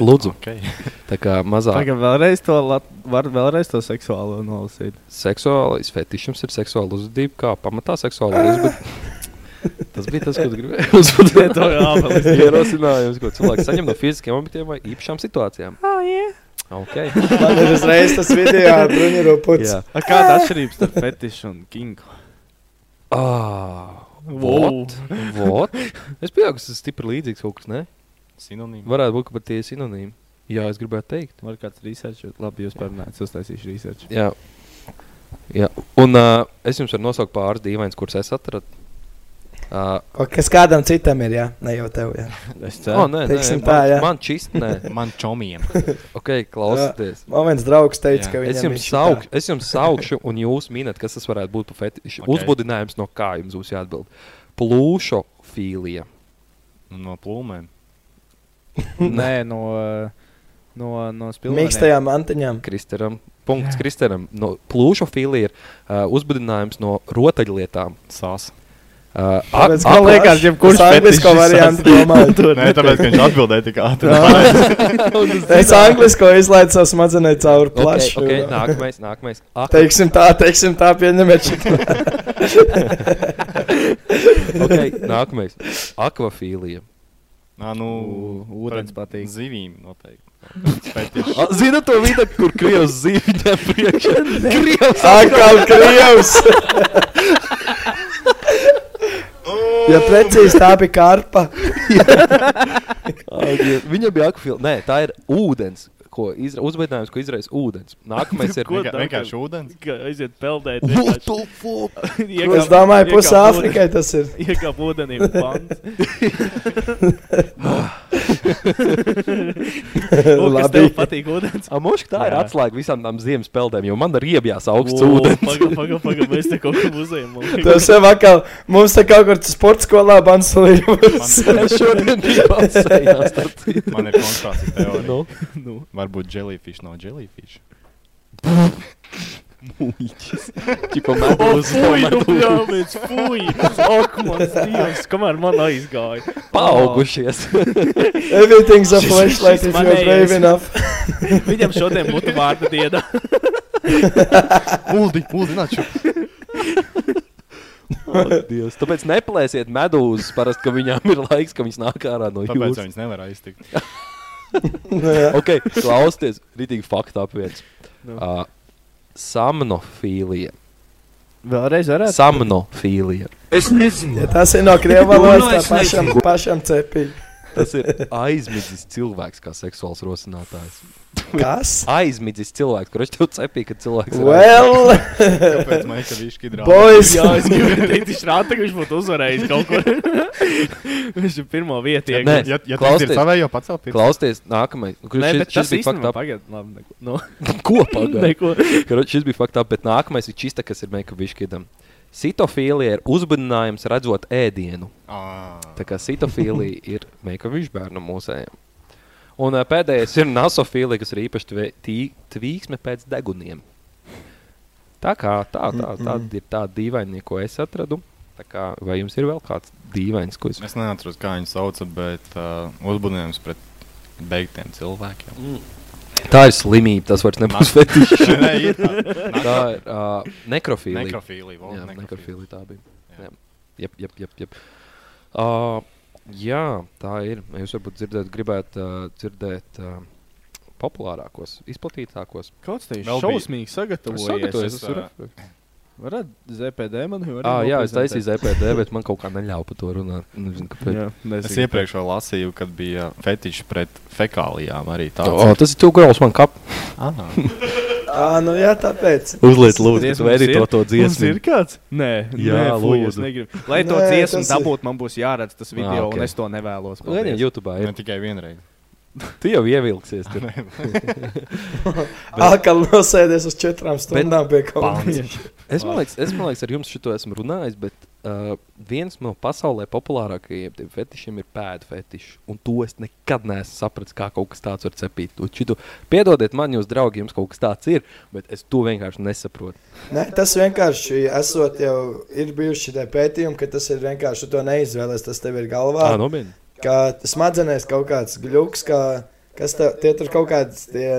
Lūdzu, okay. tā kā mazāk Tagad vēlreiz to, lat... var vēlreiz to seksuālo nolasīt. seksuālais fetišisms ir seksuāla uzvedība, kā pamatā seksuāla uzvedība. Tas bija tas, ko es gribēju uzsvērt. To jāpalīdz. ierosinājums, ko cilvēks saņem no fiziskiem objektiem vai īpašām situācijām. Oh, yeah. Okay. Man ir uzreiz tas video ar bruņuro puci. Jā. A, Kāda ir atšķirība starp fetišu un kingu? Ah, Wow. vot, vot. Es pieņemu, ka tas ir stipri līdzīgs kaut kas. Ne? Sinonīmi. Varētu būt, ka pat tie ir sinonīmi. Jā, es gribētu teikt. Var kāds research? Labi, jūs parunājat, es uztaisīšu research. Jā, Jā. un uh, es jums varu nosaukt pāris dīvainus, kurus es atradu. Uh, O, Kas kādam citam ir, jā, ne jau tev. Jā. Es oh, nē, Teiksim nē, tā, jā. man, man čist, nē, Man čomiem. okay, klausieties. Man viens draugs teica, Jā. ka Es viņam jums, saukšu, es jums saukšu, un jūs minat, kas tas varētu būt. Okay. Ok. Uzbudinājums, no kā jums būs jāatbild. Plūšofīlija. nu, No plūmēm. Nē, no, uh, no, no spilveniem. Mīkstajām antiņām. Kristeram. Punkts Kristeram. No plūšofīlija ir uh, uzbudinājums no rotaļlietām. Sās. Uh, Tāpēc, ka plašs. Es anglisko variantu domāju. Nē, tāpēc, ka viņš atbildēja tik ātri. Es anglisko izlaidu savu smadzenē cauri plašu. Okay, okay, nākamais, nākamais. Ak, Teiksim tā, teiksim tā, pieņemiet šo. okay, nākamais. Akvafīlija. Nā, nu, Ūdens patīk. Zivīm noteikti. A, Zini to vidi, kur krievs zīmē priekšā? Krievs! Atkal krievs! Ja precīzi tā bija karpa, Ai, Viņam bija akvafīlija. Nē, tā ir ūdens. Ko izra... Uzbudinājums, ko izraisa ūdens. Nākamais ir Vienkā, vienkārši ūdens. Kā aiziet peldēt. What the fuck? Iekāp- es domāju, iekāp pusē ūdenī- Āfrikai tas ir. Iekāp ūdenī un pants. O, kas tev patīk ūdens? Amoš, tā ir Jā. atslēga visām tām ziemas peldēm, jo man ir riebjās augsts O, ūdens. Paga, paga, paga, mēs te kaut ko muzejam. Tas jau atkal mums te kaut kur sporta skolā bansulījums. Es šodien biju pasējās. starp citu. Man ir kontrācija teorija. Nu? Nu. Varbūt jellyfish nav jellyfish. Čipa medūzas. Fui, nu pļāviens, fui! Ak, mans dievs, kamēr man aizgāja. Paaugušies. Everything's a Šis- flashlight šis if you're manējais. brave enough. Viņam šodien būtu vārda diena. Uldi, uldi, nāc šeit. O, Dievs. Tāpēc neplēsiet medūzas. Parasti, ka viņām ir laiks, ka viņas nāk ārā no Tāpēc jūras. viņas nevar aiztikt. Ok, klausieties, rītīgi faktu apviens. Nu. Uh, Samnofīlija. Vēlreiz varētu. Samnofīlija. Es nezinu. Ja tas ir no krievu valodas, Nu, tā es pašam, nezinu. pašam cepīgi. Tas ir aizmidzis cilvēks, kā seksuāls rosinātājs. Kas? Aizmidzis cilvēks, kurš tev cepīja, ka cilvēks ir Well, Tāpēc Maika Viški drāma. boys! Jā, es gribēju teikt, viņš rāda, ka viņš būtu uzvarējis kaut kur. viņš ir pirmo vietu Nē, iegūst. Ja, ja tas Klausties. ir savējo pacel pirkstu. Klausieties, nākamais. Kurš Nē, šis- bet tas šis bija īstenībā fakta pagaid, labi, neko. Nu, Kopā neko. šis bija fakts, bet nākamais ir čista, kas ir mekaviškidam. Sitofīlija ir uzbudinājums redzot ēdienu. Ā. Tā kā sitofīlija ir mekavišķa bērnu mūsējiem. Un ā, pēdējais ir nasofīlija, kas ir īpaši tvē- tī- tvīksme pēc deguniem. Tā kā tā, tā, tā ir tā dīvainība, ko es atradu. Tā kā, vai jums ir vēl kāds dīvains, ko es Es neatceros, kā viņu sauca, bet uh, uzbudinājums pret beigtiem cilvēkiem. Tā ir slimība, tas vairs nebūs fetišs. Nē, ir tā. Tā ir uh, nekrofīlija. Nekrofīlija, vau, jā, nekrofīlija. nekrofīlija tā bija. Jā, jep, jep, jep, jep. Uh, jā tā ir. Jūs varbūt dzirdēt, gribētu uh, dzirdēt uh, populārākos, izplatītākos. Kāds te ir Vēl bija- šausmīgi sagatavojies? Sagatavojies, Es, es varu- ā, Varat ZPD man jau Ah, jā, es taisīju ZPD, bet man kaut kā neļāva par to runāt. Nezinu, kāpēc. Es iepriekš vēl lasīju, kad bija fetišs pret fekālijām. arī tāds. O, tas ir too gross, man kap. Ā, nu jā, tāpēc. Uzliec, lūdzu, Diez, tu mums vedi ir- to, to mums dziesmu. ir kāds? Nē, Jā, nē, fuj, es lūdzu. negribu. Lai to Nē, dziesmu tas ir- dabūtu, man būs jāredz tas video, ok. un es to nevēlos. Lai viņam Paldies. YouTube ir. Ne tikai vienreiz. Tu jau ievilksies. Tur. Akal nosēdies uz četrām stundām pie kaut kā. Pants. Es man liekas, es man liekas, ar jums šito esmu runājis, bet uh, viens no pasaulē populārākajiem tiem fetišiem ir pēdu fetišs. Un to es nekad neesmu sapratis, kā kaut kas tāds var cepīt. To Šitu, piedodiet man, jūs draugi, jums kaut kas tāds ir, bet es to vienkārši nesaprotu. Nē, tas vienkārši esot jau ir bijuši tie pētījumi, ka tas ir vienkārši tu to neizvēlēties. Tas tev ir Ā, galvā. nu. nopietni? Kā smadzenēs kaut kāds gļuks, kā, kas tev, tie tur kaut kāds, tie,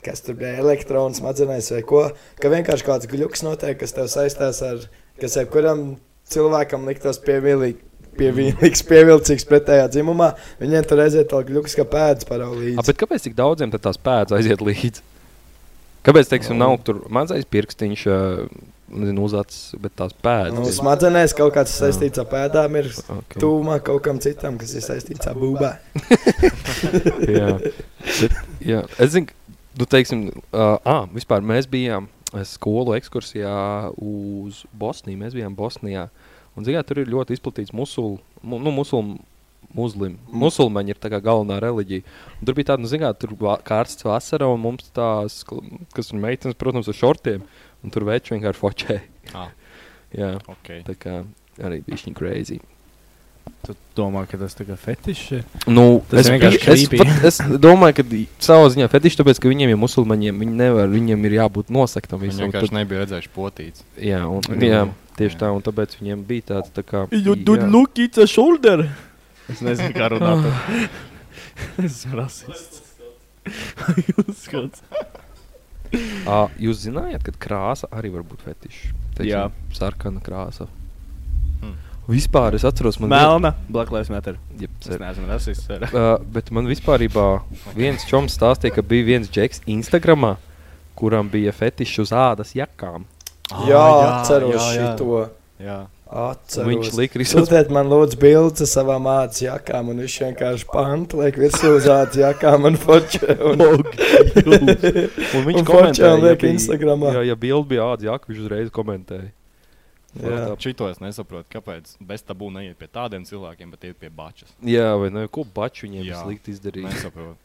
kas tur bija elektrons smadzenēs vai ko, ka vienkārši kāds gļuks notiek, kas tev saistās ar, kas jebkuram cilvēkam liktos pievīlīgi. Pievīlīgs, pievilcīgs pretējā dzimumā. Viņiem tur aiziet tā gluķis, ka pēdas A, paraudzīs. bet kāpēc tik daudziem tad tās pēdas aiziet līdzi? Kāpēc, teiksim, nav tur mazais pirkstiņš, uzācis, bet tās pēdas? Nu, ir- smadzenēs kaut kas saistīts ar pēdām, ir Ok. okay. tuvumā kaut kam citam, kas ir saistīts ar būvā. jā. Bet, jā. Es zinu, ka, nu, teiksim, uh, à, vispār mēs bijām eh, skolu ekskursijā uz Bosniju. Mēs bijām Bosnijā. Un, zināt, tur ir ļoti izplatīts musul, mu, nu, musul, muslim. Musulmaņi ir tā kā galvenā reliģija. Un tur bija tāda, nu, zināt, tur bija kārsts vasara, un mums tās, kl- kas ir meitenes, protams, ar šortiem, un tur veči vienkārši fočēja. Ah. jā, okay. tā kā arī bija viņa crazy. Tu domā, ka tas ir fetišs? Nu, tas es, vienkārši biju- es, creepy. pat- es domāju, ka savā ziņā fetišs, tāpēc, ka viņiem ir musulmaņiem, viņi nevar, viņiem ir jābūt nosaktam Viņš visam. vienkārši nebija redzējis potīts. jā, un, jā, tieši tā, un tāpēc viņiem bija tāds tā kā. You do jā. look it's a shoulder. Es nezinu, kā runāt. Ah. es esmu rasists. Jūs skats. Ā, jūs zinājāt, ka krāsa arī var būt fetišs. Teiksim, Jā. Hm. sarkana krāsa. Hmm. Vispār es atceros, man Melna, Black Lives Matter. Jep, es neesmu rasists. sir. Uh, bet man vispār viens čoms stāstīja, ka bija viens džeks Instagramā, kuram bija fetišs uz ādas jakām. Jā, jā, atceros jā, jā. šito. Jā. Atceros. Viņš lika arī. visādas- Sūtiet man lūdzu bildes savām mācas jakām, un viņš vienkārši pantu liek virsū uz ādas jakām un forčē. Un, Un viņš komentēja, un forčē un liek bija- Instagramā. Jā, ja bildi bija ādas jaka, viņš uzreiz komentēja. Jā. Šito es nesaprotu, kāpēc bez tabū neiet pie tādiem cilvēkiem, bet iet pie bačas. Jā, vai ne? Ko baču viņiem Jā. slikti izdarīja? Nesaprotu.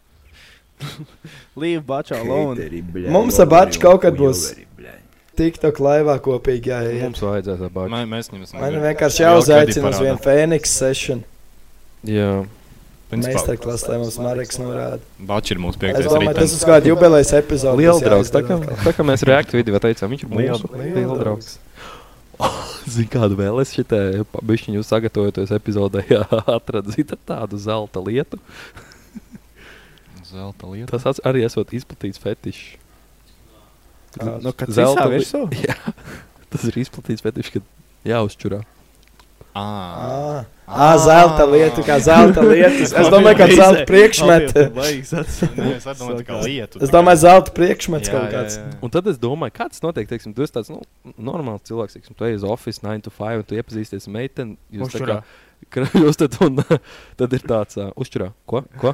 Leave bačā alone. Mums ar Baču kaut kad būs TikTok laivā kopīgi jāiet. Mums vajadzētu ar baču. Mē, mēs viņus Man nu vienkārši jāuzaicina uz vienu Fēniks sešanu. Jā. Meistarklas, lai mums Mareks norāda. Bačs ir mūsu Es piektais domāju, tas rītdienas. būs kāda jubilejas epizode. Liela kas draugs. Tā jāizdara kā, atkal. tā kā mēs reaktu video teicām, viņš ir Liela- mūsu liela liela draugs. Zinu, kādu vēl es šitā pabeigšu sagatavojoties epizodē, jā, atradu zinu, tādu zelta lietu. Zelta lieta. Tas ats- arī esot izplatīts fetišs. Kāds? Nu, kad Zelta cīsā li- virsū? Jā, tas ir izplatīts fetišs, kad jāuzčurā. Ā, Ā, Ah, zelta lieta, kā zelta lieta. Es domāju, ka Reizē. zelta priekšmeti. Abi baigs Nē, Nu, es domāju, tā kā lietu. Es domāju, zelta priekšmets kaut kāds. Un tad es domāju, kāds notiek, teiksim, tu esi tāds nu, normāls cilvēks, teiksim, tu ej uz oficiālu 9 to 5, un tu iepazīsties ar meiteni. Jūs tā kā Uzčurā. kra- jūs tad, un, tad ir tāds, uh, uzturā, ko? ko?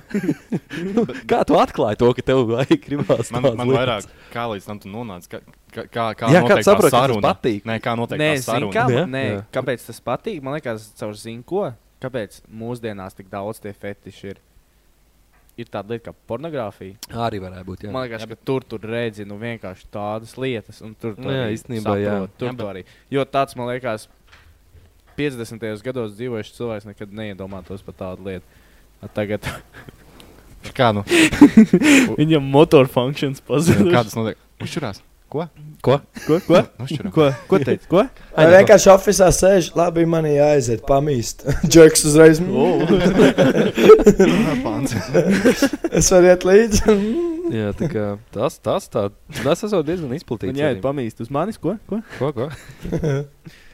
Nu, kā tu atklāji to, ka tev vajag gribās? Man, tās man lietas? vairāk, kā līdz tam tu nonāci, kā, kā, kā, kā Jā, notiek kāds tā saprot, ka tas saruna? patīk? Nē, kā notiek Nē, tā zinu, saruna? kā, Jā? nē, Jā. kāpēc tas patīk. Man liekas, caur zinu, ko. Kāpēc mūsdienās tik daudz tie fetiši ir? Ir tāda lieta, kā pornogrāfija. Arī varētu būt. Jā. Man liekas, ka tur tur redzi nu, vienkārši tādas lietas, un tur Nu jā, arī īstenībā, jā. saprot, Tur Jā, jā, bet- arī. Jo tāds, man liekas, 50. gados dzīvojušs cilvēks nekad neiedomātos par tādu lietu. A Tagad Kā nu? viņam motor funkcijas Nu, pazudušas. Kā tas notiek? Uzšurās. Ko? Ko? Ko? Ko? Nu, Uzšurā. Ko? Ko teici? Ko? Vai vienkārši oficiālā sēž, labi, man jāaiziet, pamīst. Džeks uzreiz "Mm, Pants. Es varu iet līdzi. Jā, tā kā tas, tas, tā, tas esmu diezgan izplatīts. Viņa arī. ir pamīst uz manis, ko? ko? Ko, ko?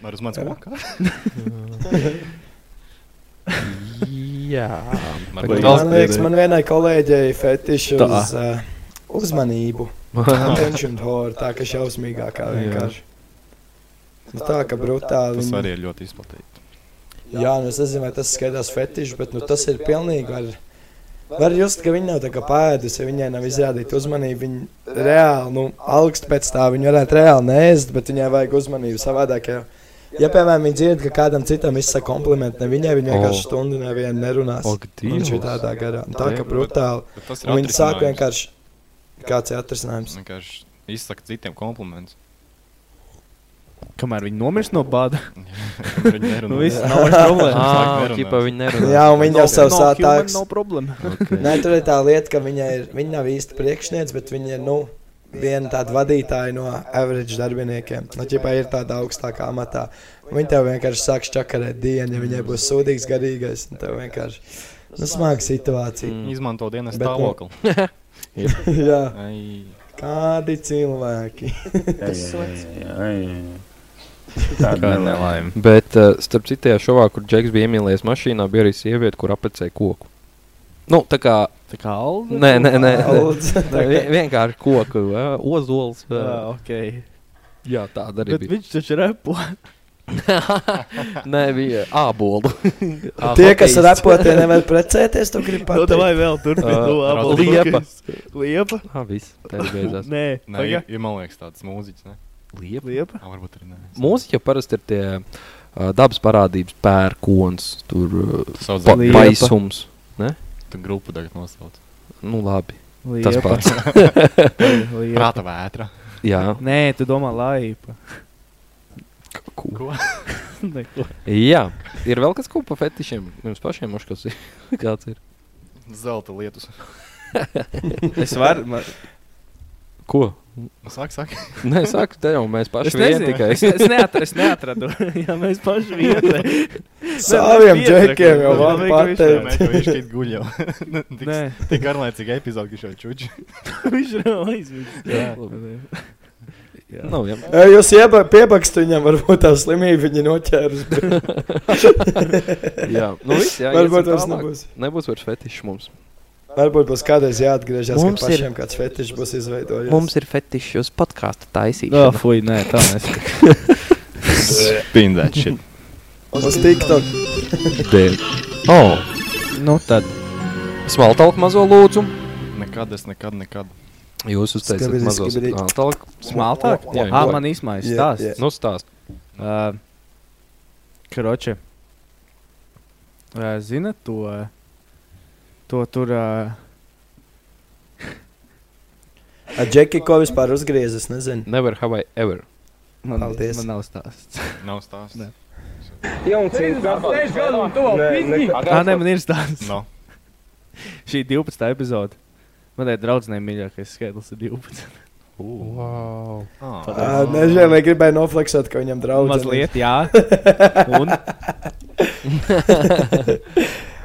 Ar uz mans kokā? Jā. Man Tā kā- Man liekas, man vienai kolēģei fetišu Tā. uz uh, Uzmanību. Attention horror, tā kā šausmīgākā Jā. vienkārši. Nu, tā kā brutāli. Tas viņa- arī ir ļoti izplatīts. Jā, nu es nezinu, vai tas skaitās fetišs, bet nu, tas ir pilnīgi. Var, var just, ka viņa nav tā kā pēdusi, ja viņai nav izrādīta uzmanība. Viņa reāli, nu, augst pēc tā, viņa varētu reāli nēst, bet viņai vajag uzmanību savādāk. Ja, ja piemēram, viņa dzird, ka kādam citam izsaka komplimentu, ne viņai, viņa O. vienkārši stundu nevienu nerunās. Ak, Dievs. Viņš ir tādā garā, Nu, tā Bet- kā brutāli. bet tas ir Un Viņa sāk atrisinājums. vienkārši kāds ir atrisinājums. Vienkārši izsaka citiem komplimentus. Kamēr viņi nomirst no bada, Viņi nerunā. nu, viss nav vairs problēma. Ah, ķipa, viņi nerunā. Jā, un viņi jau No- sev no human, sātāks. no problem. Ok. Nē, tur ir tā lieta, ka viņa, ir, viņa nav īsti priekšniece, bet viņa ir nu, viena tāda vadītāja no average darbiniekiem. Nu, ķipā ir tādā augstākā amatā. Un Viņa tev vienkārši sāks čakarēt dienu, ja viņai būs sūdīgs, garīgais. un Tev vienkārši nu, smaga situācija. Mm. Izmanto dienas Bet, nu, stāvokli. Jā. Ai. Kādi cilvēki? Kā nelaime. Bet, uh, starp citu, tajā šovā, kur Džeks bija iemīlējies mašīnā, bija arī sieviete, kur apcēla koku. Nu, tā kā. Tā kā alde? Nē, nē, nē. Alde. nē vi- vienkārši koku, ā, ozols. ā. Jā, ok. Jā, tāda arī Bet bija. viņš taču repo. Nē, bija ābolu. Ā, Tie, kas hokejs. rapo, tie nevar precēties, tu gribi Nu, pateikt. vai vēl Ā, turpināt? Nu, rot- Eh, apel Uh, liepa. hokejs. Liepa. Ah, viss. Tā arī beidzās. Nē, Nē, ir, pagaid. ir man liekas, tāds mūziķis. Ne? Liepa. Liepa? Jā, varbūt arī nē. Mūzika jau parasti ir tie uh, dabas parādības, pērkons, tur uh, Sauc pa, liepa. paisums. Ne? Tu grupu tagad nosauc. Nu, labi. Tas Liepa. pats. Liepa. Prāta vētra. Jā. Nē, tu domā laipa. Ko? Neko. Jā, ir vēl kas tāds par fetišiem. Jums pašiem mož, kas ir. Kāds ir? Zelta lietus. Es varu. Man... Ko? Nu, Sāk, sāk. Nē, saka, te jau mēs paši Es nezinu, vien tikai. es, es, neatra, es neatradu. Jā, mēs paši vietā. Saviem džekiem jau var pateikt. Nē, ka viņš šeit guļ jau. Nu, tik- Nē. Tik garlaicīgi epizodi, ka šo čuči. Viņš ir aizmirsis. Jā. Nu, Nav jau. Ej, Jūs ieba- piebakstu viņam, varbūt tā slimība viņa noķēris. Jā, nu viss, jā, varbūt iesim tas tālāk. nebūs. Nebūs vairs fetišs mums. Varbūt būs kādreiz jāatgriežas, kad Mums ir- pašiem kāds fetišs būs izveidojies. Mums ir fetišs uz podkāstu Jā, taisīšanu. fuj, nē, tā mēs. Spin that shit. Uz TikTok. Dēļ. Oh, nu tad. Smaltalk mazo lūdzu. Nekad es nekad, nekad. Jūs uztaisat Skabidi, mazo skabidi. smaltalk. Smaltāk? Jā, Ā, jā. man īsmais Jā, jā. stāsts. Nu, stāst. Ā, Kroče. Ā, Zini to? To tur. ā, Ar Džeki, ko vispār uzgriezis, nezinu. Never have I ever. Man, Paldies. man nav stāsts. Nav stāsts. Nē. Tā ne, Nē, man ir stāsts. No. Šī 12. epizode. Manai draudzenei mīļākais skaitlis ir 12. Wow. Ah, Ā, Nezinu, vai gribēju nofleksot, ka viņam draugs. Mazliet, jā. Un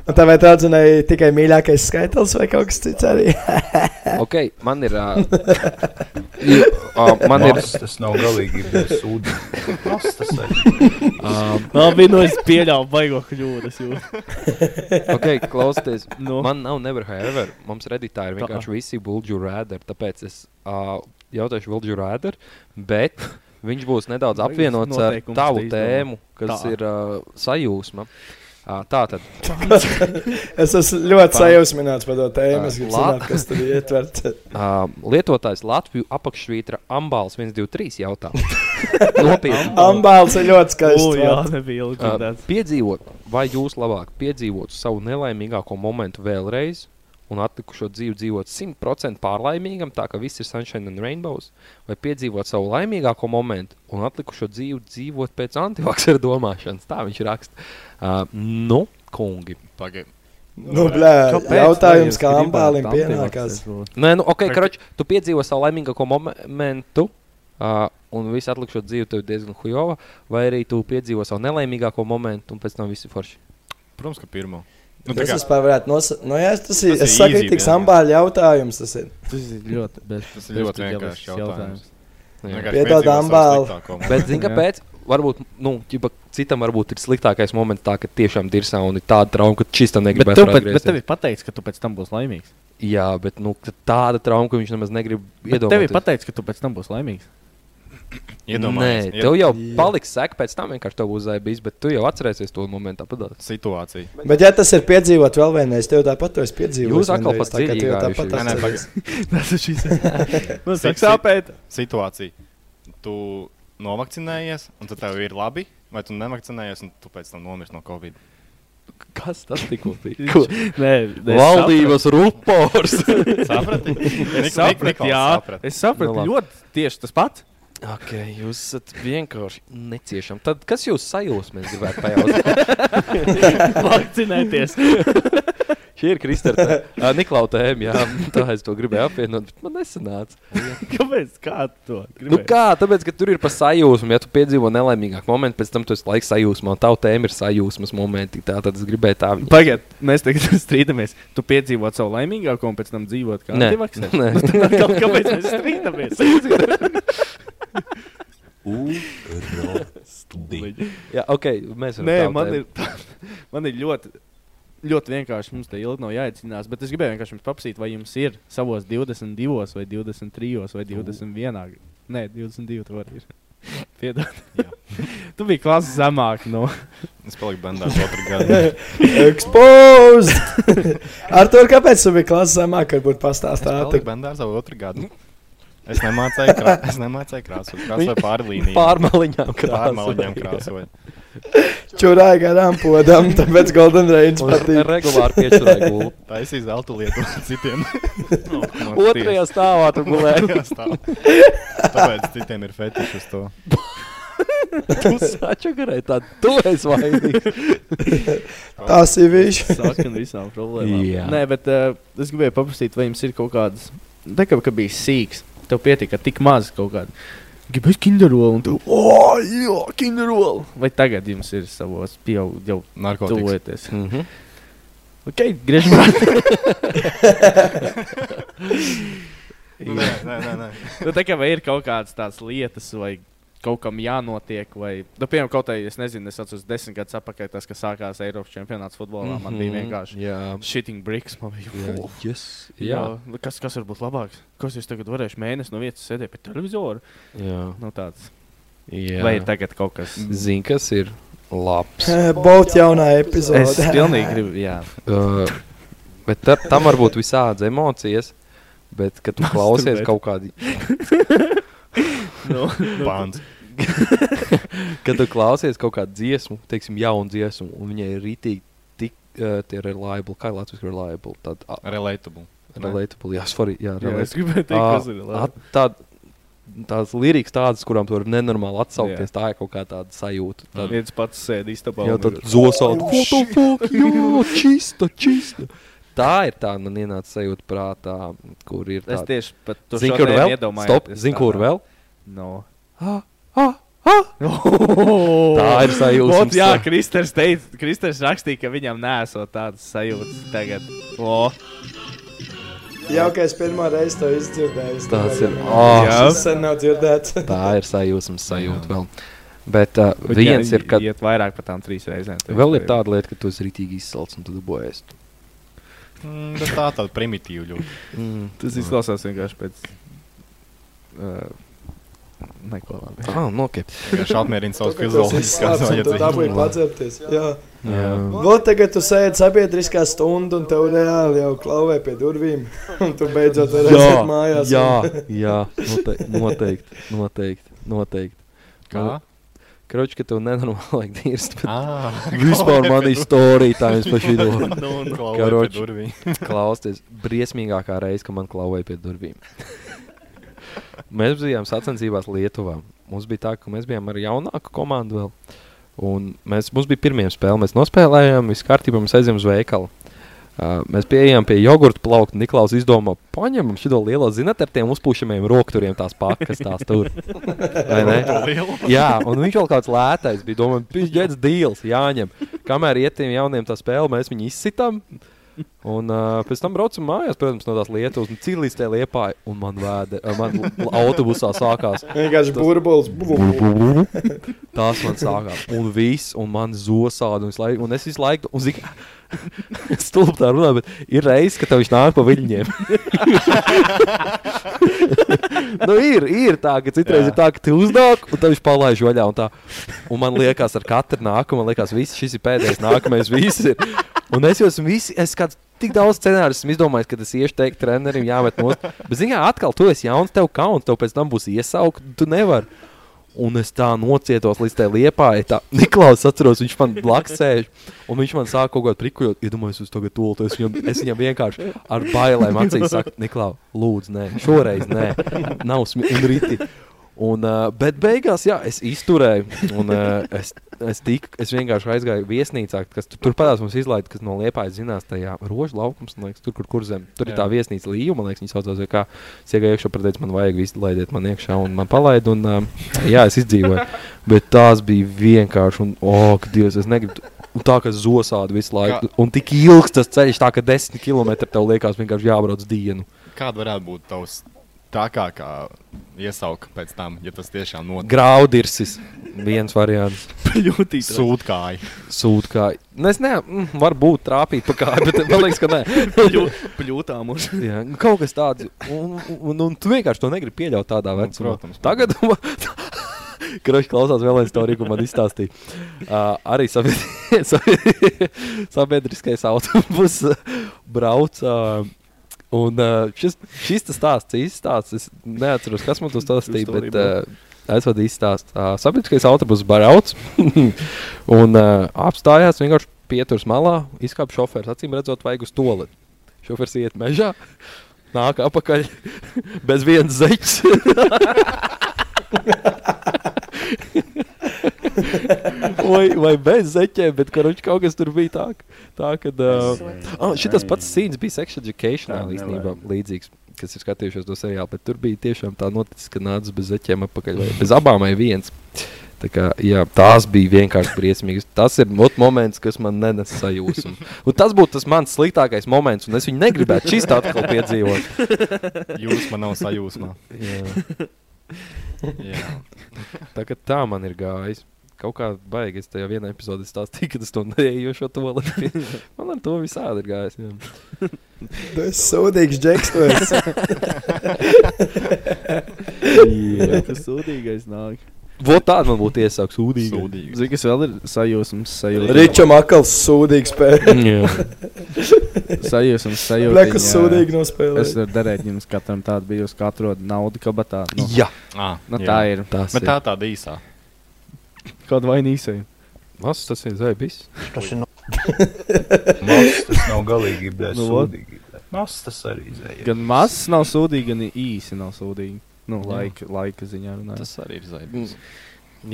Nu, Tā vai tā atzinēja tikai mīļākais skaitlis vai kaut kas cits arī? Ok, man ir. Uh, jū, uh, man ir. tas nav galīgi bijis sūdiņš. Kas tas ir? Uh, vēl bija no es pieļāvu baigo kļūdas. jū. Ok, klausieties. Nu. No. Man nav never have ever. Mums redītā ir Tā. vienkārši visi buļģu rēderi. Tāpēc es uh, jautāšu buļģu rēderi, bet viņš būs nedaudz Vai apvienots ar noteikums tavu te izdomā? tēmu, kas Tā. tā. ir uh, sajūsma. Uh, tā tad Es esmu ļoti sajūsmināts par to tēmu. Es Tā, gribu la- zināt, kas tur ir ietverts. uh, lietotājs Latvijas apakšvītra ambāls 123 jautā. Nopietni. Ambāls ir ļoti skaists. U, jā, vārds. nebija ilgi Ā, dzirdēts. piedzīvot, vai jūs labāk piedzīvot savu nelaimīgāko momentu vēlreiz, un atlikušo dzīvi dzīvot 100% pārlaimīgam, tā ka viss ir sunshine and rainbows, vai piedzīvot savu laimīgāko momentu un atlikušo dzīvi dzīvot pēc antivakcīnu domāšanas. Tā viņš raksta. Uh, nu, kungi. pagaid. Nu, blē, Kāpēc jautājums, lai kā es gribētu ambālim tam pienākās. pievērst? Nē, nu, ok, Vai karoči, tu piedzīvo savu laimīgāko momentu. Uh, un visu atlikušo dzīvi tev ir diezgan hujova, vai arī tu piedzīvo savu nelaimīgāko momentu, un pēc tam viss ir forši. Protams, ka pirmo. Nu, tā Tas kā, vispār varētu nosaukt. Nu, jā, tas ir. Tas Es ir saku, easy, tik jā. ambāļu jautājums tas ir. Tas ir ļoti, bez, tas ir ļoti vienkāršs jautājums. Nu Jā. Vienkārši Piedod, piedzīvo savu ambāli. sliktāko momentu. Bet, zini, Jā. kāpēc? varbūt nu, ķipa, citam varbūt ir sliktākais moments, tā, ka tiešām dirsā un ir tāda trauma, ka šis tam Bet, negribētu tev, bet, atgriezties. bet tev ir pateikts, ka tu pēc tam būsi laimīgs. Jā, bet nu, ka tāda trauma, ka viņš nemaz negrib Bet tev ir pateikts, ka tu pēc tam būsi laimīgs. Nē, tev jau paliks sēka pēc tam, vienkārši tev būs zvaigznes, bet tu jau atcerēsies to momentu, apgādāt situāciju. Bet, ja tas ir piedzīvot vēl vienreiz, tev tāpat to es piedzīvoju. Jūs atkal pat dziļi iegājuši. Nē, nē, Tas ir šis. Nu, sāk sit- sāpēt. Situācija. Tu novakcinējies, un tad tev ir labi, vai tu nevakcinējies, un tu pēc tam nomirsti no Covid. Kas tas tikko bija? Ko? Nē, nē, Valdības rupors. Saprati? Es sapratu, jā. Es Nu, sapratu ļoti tieši tas pats. Ok, jūs esat vienkārši neciešami. Tad kas jūs sajūsmē, gribētu pajautāt? Vakcinēties. Šie ir Kristēta. Uh, Niklaus tēma, jā, tā es to gribēju apvienot, bet man nesanāca. Kāpēc? Kā to? Nu kā, tāpēc, ka tur ir pa sajūsmu, ja tu piedzīvo nelaimīgāku momentu, pēc tam tu esi laiks sajūsmā, un tava tēma ir sajūsmas momenti. Tā tad es gribēju tā. Pagaidiet, mēs tagad strīdamies. Tu piedzīvo savu laimīgāko un pēc tam dzīvo kā Nē. antivakcīns. Nē. Nu, tad atkal kāpēc mēs strīdamies? Urodi. Jā, ok, mēs varam Nē, tavu man tēmu. ir, man ir ļoti, ļoti vienkārši. Mums te ilgi nav jāicinās, bet es gribēju vienkārši jums paprasīt, vai jums ir savos 22, vai 23, vai 21. Nē, 22. tur var ir. Piedod. tu biji klases zemāk. nu. No. Es paliku bandā otru gadu. Exposed! Ar to, kāpēc tu biji klases zemāk, kad būtu pastāstāt? Paliku bandā ar savu otru gadu. Es nemācīju krā- es nemācīju krāsot. Krāsoju pārlīniju. Pārmaliņām krāsoju. Pārmaliņām krāsoju. Čurāja garām podam, tāpēc Golden Reigns Un patīk. regulāri piečurāja gultu. Taisīja zelta lietu citiem. No, no Otrajā tiesas. stāvā tu gulēji. Otrajā stāvā. Tāpēc citiem ir fetišs uz to. Tu sačakarēji tā, tu esi vainīgs. Tas ir viņš. Sākas ar visām problēmām. Jā. Nē, bet uh, es gribēju paprasīt, vai jums ir kaut kādas. Tā kā, ka bija sīgs, tev pietika tik maz kaut kāda. Gribēju kinderolu, un tu, oh, jā, kinderolu! Vai tagad jums ir savos pieaug, jau Narkotikas. tuvojoties? Mm -hmm. Ok, griežamies! Nē, nē, nē, nē. nu, tā kā vai ir kaut kādas tādas lietas, vai kaut kam jānotiek, vai, nu, piemēram, kaut kā, es nezinu, es atceros desmit gadus atpakaļ, tas, kas sākās Eiropas čempionāts futbolā, mm -hmm. man bija Mhm, vienkārši jā. shitting bricks. Man bija, Jā, "Fuh." yes, jā. jā. nu, Kas, kas var būt labāks? Kas es tagad varēšu mēnesi no vietas sēdēt pie televizora? Jā. Nu, tāds. Jā. Vai ir tagad kaut kas? Zini, kas ir labs? Baut jaunā epizode. Es pilnīgi gribu, jā. Uh, bet tar, tam var būt visādas emocijas, bet, kad tu klausies kaut kādu Nu, nu, Pāns. kad tu klausies kaut kādu dziesmu, teiksim, jaunu dziesmu, un viņai ir rītīgi tik uh, tie reliable, kā Latvijas reliable. Tad, uh, Relatable. Relatable, jā, sorry, jā, Jā, es relatable. gribēju teikt, Ā, kas ir labi. at- tād- Tās lirikas, tādas, kurām tu vari nenormāli atsaukties, jā. tā ir kaut kā tāda sajūta. Tad, Viens pats sēdīs tāpā. Jā, tad Oh, zosādi. Ko tu fuck? Jā, čista, čista. Tā ir tā, man ienāca sajūta prātā, kur ir. Es tāda- tieši pat to Zini, kur šodien vēl? iedomājos, Stop, es zini, tādā- kur vēl? No. Ah, ah, ah. Tā ir sajūta. Ot, jā, Kristers teica, Kristers rakstīja, ka viņam nesot tādas sajūtas tagad. O. Jaukais pirmā reize to izdzirdēju. es Tas nevaru ir- iedomāties. Ā. Jā. Tas sen nav dzirdēts. Tā ir sajūsmas sajūta vēl. Bet uh, viens ir, kad iet vairāk par tām trīs reizēm. tad vēl ir vai- tāda lieta, ka tu esi rītīgi izsalcis un tu dabūjies. Mm, bet tā tāda primitīva ļoti. Mm. Tas izklausās vienkārši pēc. Uh, neko labi. Ah, nu, ok. Vienkārši apmierina savas Tu, kad tu esi fizioloģiskās izslāpis un tu dabūji vajadzības. padzerties. Jā. Jā. Vot tagad tu sēdi sabiedriskā stundu un tev reāli jau klauvē pie durvīm. Un tu beidzot Jā, vari aiziet mājās. jā, jā note, noteikti, noteikti, noteikti. Kā? Kroči, ka tev nenormāli vajag dirst. bet Ā, Vispār klauvē man pie ir storija tā jums pa šito. Nu, nu, klauvē pie durvīm. klausties, briesmīgākā reize, ka man klauvēja pie durvīm. mēs bijām sacensībās Lietuvā. Mums bija tā, ka mēs bijām ar jaunāku komandu vēl. Un mēs, mums bija pirmie spēle, mēs nospēlējām, viss kārtībā, mēs aizjām uz veikalu. Uh, mēs pieejam pie jogurta plaukta. Niklaus izdomā, paņemam šo lielo zinātnē, ar tiem uzpūšamajiem rokturiem tās pakas, tās tur. Vai ne? Lielo? Jā, un viņš vēl kāds lētais bija. Domāju, viņš ģērbs dīls, jāņem. Kamēr iet tiem jauniem tā spēle, mēs viņu izsitam. Un uh, pēc tam braucam mājās, protams, no tās Lietuvas, un cīlīs tajā liepā, un man, vēde, uh, man l- autobusā sākās. Vienkārši tas- burbulis. Burbulis. Tās man sākās. Un viss, un man zosāda. Un, visu laiku, un es visu laiku, un zinu, stulbi tā runā, bet ir reizes, ka tev viņš nāk pa viļņiem. nu, ir, ir tā, ka citreiz Jā. Jā. ir tā, ka tu uznāk, un tev viņš palaiž vaļā. Un, tā. un man liekas, ar katru nākamo, man liekas, viss šis ir pēdējais, nākamais, viss ir. Un es jau esmu visi, es kāds. Tik daudz scenāriju esmu izdomājis, ka es iešu teikt trenerim, jāmet no stūra. Bet, zinām, atkal tu esi jauns, tev kauns, tev pēc tam būs iesaukt, tu nevari. Un es tā nocietos līdz tai liepā, ja tā Niklaus atceros, viņš man blaksēž, un viņš man sāk kaut ko prikojot. Iedomājos, uz tagad tūlīt, es, viņam- es viņam vienkārši ar bailēm acīs saku, Niklaus, lūdzu, nē, šoreiz nē, nav smieklīgi. Un, uh, bet beigās, jā, es izturēju, un uh, es, es, tiku, es vienkārši aizgāju viesnīcā, kas tur, tur padās mums izlaiž, kas no liepājas zinās, tajā rožu laukumā, man liekas, tur, kur kur zem. Tur jā. ir Jā. tā viesnīca līnija, man liekas, viņi saucās, vai kā es iegāju iekšā, pateicu, man vajag visu, laidiet man iekšā, un man palaid, un um, jā, es izdzīvoju. Bet tās bija vienkārši, un, oh, Dievs, es negribu. t- Un tā kā zosādi visu laiku. Kā- Un tik ilgs tas ceļš, tā ka desmit km tev liekas vienkārši jābrauc dienu. Kāda varētu būt tavs trakākā iesauka pēc tam, ja tas tiešām notiek? Graudirsis, viens variants. Ļoti sūdkāji. Sūtkāji. Nu, es nezinu, varbūt trāpīt pa kāju, bet man liekas, ka nē. Pļu- pļūtām uz- Jā, nu, kaut kas tāds. Un, un, un tu vienkārši to negribi pieļaut tādā vecumā. protams. Tagad Krošs klausās vēl vienu stāstu, ko man izstāstīja. Uh, arī sabied- sabied- sabiedriskais autobus uh, brauc. Uh, un uh, šis, šis tas stāsts, īsts stāsts, es neatceros, kas man to stāstīja, True story, bet uh, aizvada īsts stāsts. Uh, sabiedriskais autobus brauc un uh, apstājās vienkārši pieturas malā, izkāpa šoferis, acīm redzot, vajag uz toli. Šoferis iet mežā, nāk apakaļ bez vienas zeķes. vai, vai bez zeķiem, bet karoči, kaut kas tur bija tā, tā ka. Uh, Ah, oh, šitas pats scenes bija Sex Education īstenībā līdzīgs. Kas ir skatījušies to seriālu, bet tur bija tiešām tā noticis, ka nāca bez zeķiem apakaļ vai bez abām vai viens. Tā kā, jā, tās bija vienkārši briesmīgas. Tas ir ot moments, kas man nenes sajūsmu. Un tas būtu tas mans sliktākais moments, un es viņu negribētu šis tā atkal piedzīvot. Jūs man nav sajūsmā. Jā. Jā. Tagad tā man ir gājis. Kaut kā baigi es tajā vienā epizodē stāstīju, kad es to neju šo to lietu. Man ar to visādi ir gājis. Jā. Tu esi sūdīgs, Džeks. tu esi. Jā, tas sūdīgais nāk. Vot tāda man būtu iesākuma sūdīga. Zini, kas vēl ir sajūsmas, sajūta. Ričam akals sūdīgs Jā. pēc. Sajūsmas, sajūta. Blekas sūdīgi nospēlēja. Es varu darīt jums katram tādu bijusi, kā atrod naudu kabatā. Nu, Jā. Ā, nu, jā. tā ir. Tas Bet tā tāda īsā. Kāda vainīsai? Mas, tas ir zvaigznes. Tas ir no. Mas, tas nav galīgi, bet Nu, nu, vot. sūdīgi. Mas, tas arī zvaigznes. Gan mazs nav sūdīgi, gan īsi nav sūdīgi. Nu, Jā. laika, laika ziņā runājot. Tas arī ir zaļais.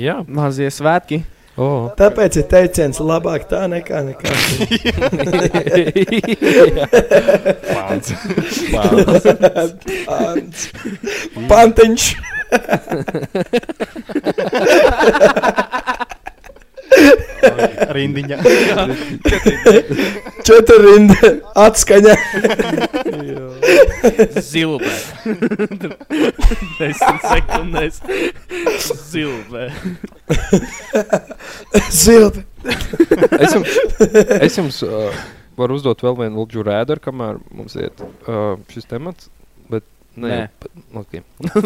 Jā. Mazie svētki. Oh. Tāpēc ir teiciens, labāk tā nekā nekā. Pants. Pants. Pants. Pantiņš. Rindiņa. Četrrinda atskaņa. Zilbē. Desmit sekundēs. Zilbē. Zilbi. es jums, es jums uh, varu uzdot vēl vienu lūdzu rēdu, kamēr mums iet uh, šis temats. Bet, Nē. nē, pa- okay.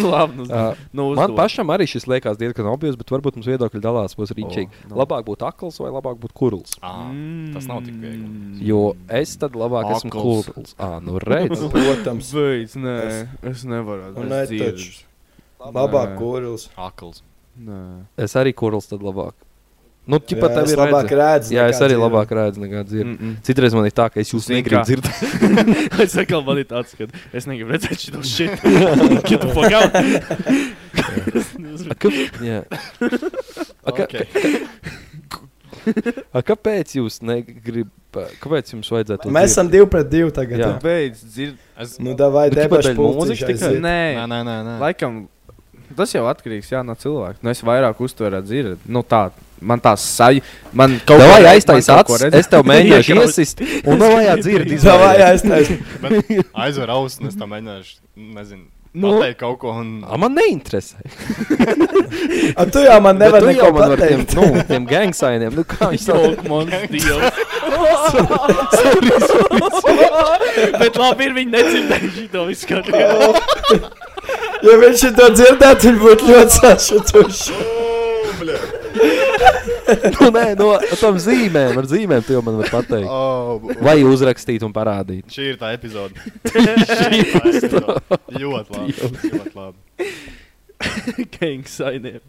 Labi, nu, nu, man uzdod. pašam arī šis liekas diezgan objekts, bet varbūt mums viedokļi dalās. Būs rīčīgi. nu. Oh, labāk būt akls vai labāk būt kurls? Mm. Tas nav tik viegli. Mm. Jo es tad labāk esmu Akls. kurls. Ah, nu redz. Protams. Beidz, nē, es nevaru. Un Es netaču. dzirdu. Labāk Nē. kurils. Akls. Nē. Es arī kurls tad labāk. Nu, ķipa, Jā, tev es ir labāk redze. redzu Jā, nekā es arī dzirdu. labāk redzu nekā dzirdu. Mm, Mm mm. -mm. Citreiz man ir tā, ka es jūs Zini negribu kā? dzirdēt. es atkal man ir tāds, ka es negribu redzēt Nu, šo šitā. Get the fuck out. A, ka, jā. A, ka, Ok. ka, a, kāpēc jūs negribat? Kāpēc jums vajadzētu? Mēs esam divi pret divu tagad. Jā. ja? Beidz dzird. Es... Nu, davai, Nu, tipa daļ debašu pulciņš mūzikas tikai? aiziet. Nē, Nē, nē, nē, nē. Laikam, tas jau atkarīgs jā, no cilvēka. Nu, es vairāk uztveru dzirdēt, nu, tā Man tā sajūta, man Kaut kaut Davai, ko- aiztais man kaut ko acis, redz- es tev mēģināšu Iekrauj. iesist, un davai atzirdi, Davai izvairīties. aiztais. Aizver ausis, un es tam mēģināšu, nezinu, Nu. pateikt kaut ko. Un... A, man neinteresē. A, tu jau man Bet nevari tu jau neko man ar tiem, pateikt. nu, tiem gangsainiem, nu kā viņš to Bet labi, ir viņi nedzirdējuši to visu katru. Ja viņš to dzirdētu, viņš būtu ļoti sašutuši. Nu, nē, no tam zīmēm, ar zīmēm tu jau man vari pateikt. Oh, Vai uzrakstīt un parādīt. Šī ir tā epizode. Šī ir tā epizode. Ļoti labi. Ļoti labi. Gangsainiem.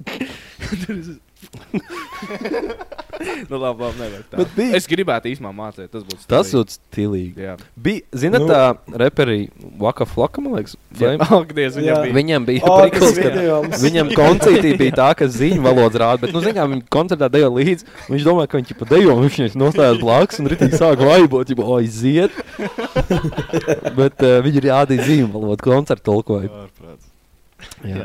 nu, labi, labi, nevajag tā. Bet bija- Es gribētu īstenībā mācīt, tas būtu Tas stilīgi. būtu stilīgi. Jā. Bija, zinot, Nu. nu, tā reperī Vaka Flaka, man liekas, Jā, Flame. ak, Dievs, viņam Jā. bija. Viņam bija O, Oh, tas priklis, ka video mums. viņam koncertī bija tā, ka ziņu valodas rāda, bet, nu, zinām, viņa koncertā dejo līdzi, un viņš domāja, ka viņš pa dejo, un viņš vienkārši nostājās blāks, un ritīgi sāk vaibot, jau, oi, ziet. bet uh, viņi ir jādīja ziņu valodu, koncertu tulkoja. Ārprāts. Jā.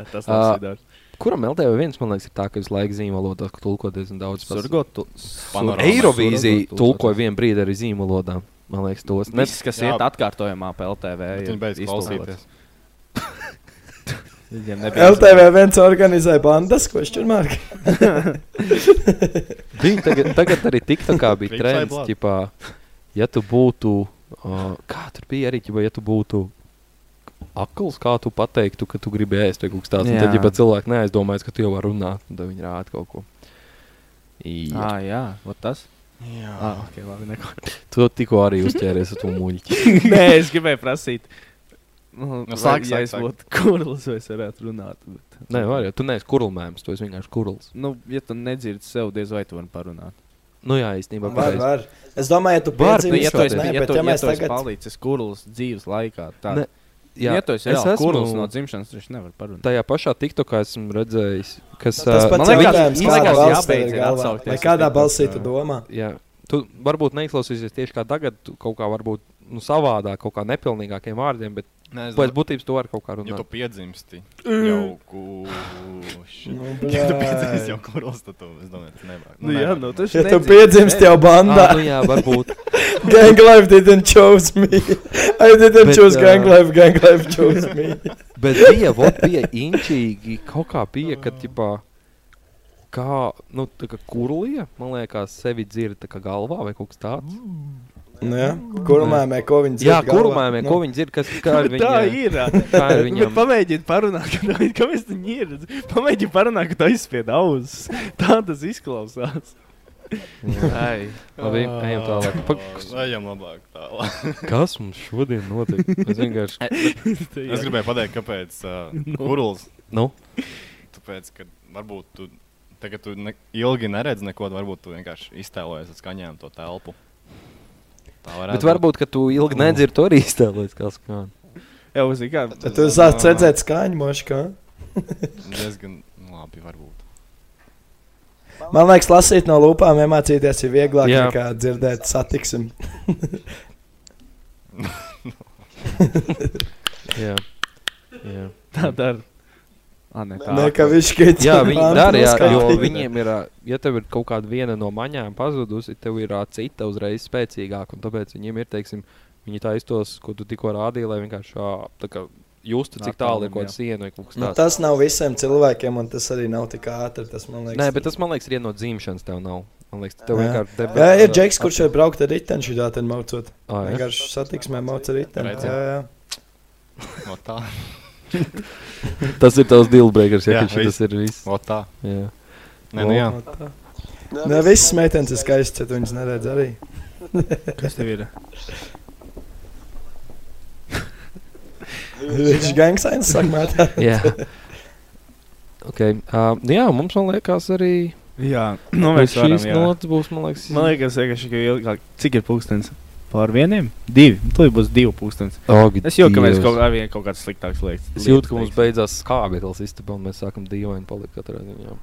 Jā, tas Ā, labs ideāls. Kuram LTV viens, man liekas, ir tā, ka visu laiku zīmē valodā tulko diezgan daudz Surgotu- Sur... Panorama. Eirovīzija Surgotu- tulkoja vienu brīdi arī zīmē valodā. Man liekas, tos ne- Viss, kas iet atkārtojumā pa LTV, Bet ir viņi beidz iztulkots. klausīties. Viņiem nebija LTV viens organizēja bandas, ko šķirmāk. Bija tagad, tagad arī TikTokā bija Krips trends, aiblāk. ķipā, ja tu būtu, uh, kā tur bija arī, ķipā, ja tu būtu akls, kā tu pateiktu, ka tu gribi ēst vai kaut kas tāds, un tad, Jā. ja cilvēki neaizdomājas, ka tu jau vari runāt, un tad viņi rāda kaut ko. Ir. Ah, jā, vot tas. Jā. Ah, ok, labi, neko. Tu tikko arī uzķēries ar to muļķi. Nē, es gribēju prasīt. Nu, Nu, no, sāk, sāk, ja sāk, es sāk. būtu kurls, vai es varētu runāt. Bet... Nē, var jau, tu neesi kurlmēms, tu esi vienkārši kurls. Nu, ja tu nedzirdi sev, diez vai tu vari parunāt. Nu jā, īstenībā. Var, pareizi. var. Es domāju, ja tu Var, piedzīvi ja tu esi, nē, ja bet tu, ja ja mēs tu esi tagad- palīdzis kurls dzīves laikā, tad, Ne, jā, ja tu esi es reāli esmu- kurls no dzimšanas, viņš nevar parunāt. Tajā pašā TikTokā esmu redzējis, kas. Tas ā, pats man liekas, jautājums, viņi- kādā izlaižās balss jābeidz tev ir ir galvā? atsaukties Vai uz kādā TikTok. balsī tu domā? Jā. Tu varbūt neizklausīsies tieši kā tagad, tu kaut kā varbūt nu, savādāk, kaut kā nepilnīgākiem vārdiem, bet Nē, es pēc domāju- būtības to var kaut kā runāt. Ja tu piedzimsti jau kurš. Nu, ja tu blēņ. piedzimsti jau kurš, tad tu, es domāju, tas nevar. Nu, jā, nevar, nu, nevar. taču Ja tu nedzirdi. piedzimsti jau bandā. Ah, nu jā, varbūt. Gang life didn't choose me. I didn't Bet, choose ā, gang life, gang life chose me. Bet bija, vot, bija inčīgi, kaut kā bija, ka tipā. Kā, nu, tā kā kurlija, man liekas, sevi dzird tā kā galvā vai kaut kas tāds. Nu jā, kurmēmē, ko viņi dzird Jā, galvā. kurmēmē, Nu. ko viņi dzird, kas kā ir Bet tā viņa- ir. Kā ir Bet viņam? pamēģini parunāt, ka tā- kāpēc tā ir. Pamēģini parunāt, ka tā izspied ausis. Tā tas izklausās. Ai. Labi, ejam tālāk. Pa- kas- Ejam labāk tālāk. Kas mums šodien notiek? Es vienkārši. Es gribēju pateikt, kāpēc Nu. uh, kurls. Nu? Tāpēc, ka varbūt tu, tagad tu ne, ilgi neredzi neko, tad varbūt tu vienkārši iztēlojies ar skaņām to telpu. Tā varētu Bet varbūt, ka tu ilgi nedzirdi to arī iztēloties, kas skan. Jā, uzzini, kā. Tad tu sāc redzēt skaņu moškā. būt diezgan labi. Varbūt. Man liekas, lasīt no lūpām iemācīties ir vieglāk Jā. nekā dzirdēt satiksim. Jā. Jā. Tā dara. Ah, ne, tā. Nē, ka viņš keic- Jā, viņi Antu dara, jā, jo noskatīja. viņiem ir, ā, ja tev ir kaut kāda viena no maņām pazudusi, tev ir ā, cita uzreiz spēcīgāka, un tāpēc viņiem ir, teiksim, viņi taistos, ko tu tikko rādīji, lai vienkārši ā, tā kā justu, cik tālu ir kaut kāda siena vai kaut kas Nu, tāds. tas nav visiem cilvēkiem, un tas arī nav tik ātri. Tas, man liekas, Nē, bet tas man liekas, ir no dzimšanas tev nav. Man liekas, tev Jā. vienkārši debes- Jā, ir džeks, kurš Oh ir braukt ar riteni šajā tādā mācot. Ā, jā? Vienkārši satiksmē mācot ar riteni. Redzi. Jā, jā. No tā. Tas ir tavs dealbreakers, ja Jā, viņš tas viss. ir viss. O tā. Jā. Nē, nu jā. Ne visas meitenes ir skaistas, ja tu viņas neredz arī. Kas tev ir? Viņš ir gangsters, saka, mētā. Jā. Okay. Uh, jā, mums man liekas arī. Jā, nu, mēs varam, šīs jā. nots būs, man liekas, Man liekas, vienkārši, ka ilgāk. Cik ir pūkstens? Pār vieniem? Divi. Tu būs divi pūkstens. Ak, es jau kāpēc Dievs. kaut kā vien kaut kāds sliktāks liekas. Es jūtu, ka mums beidzās skābeklis istabā, un mēs sākam dīvaini palikt katrā ziņā.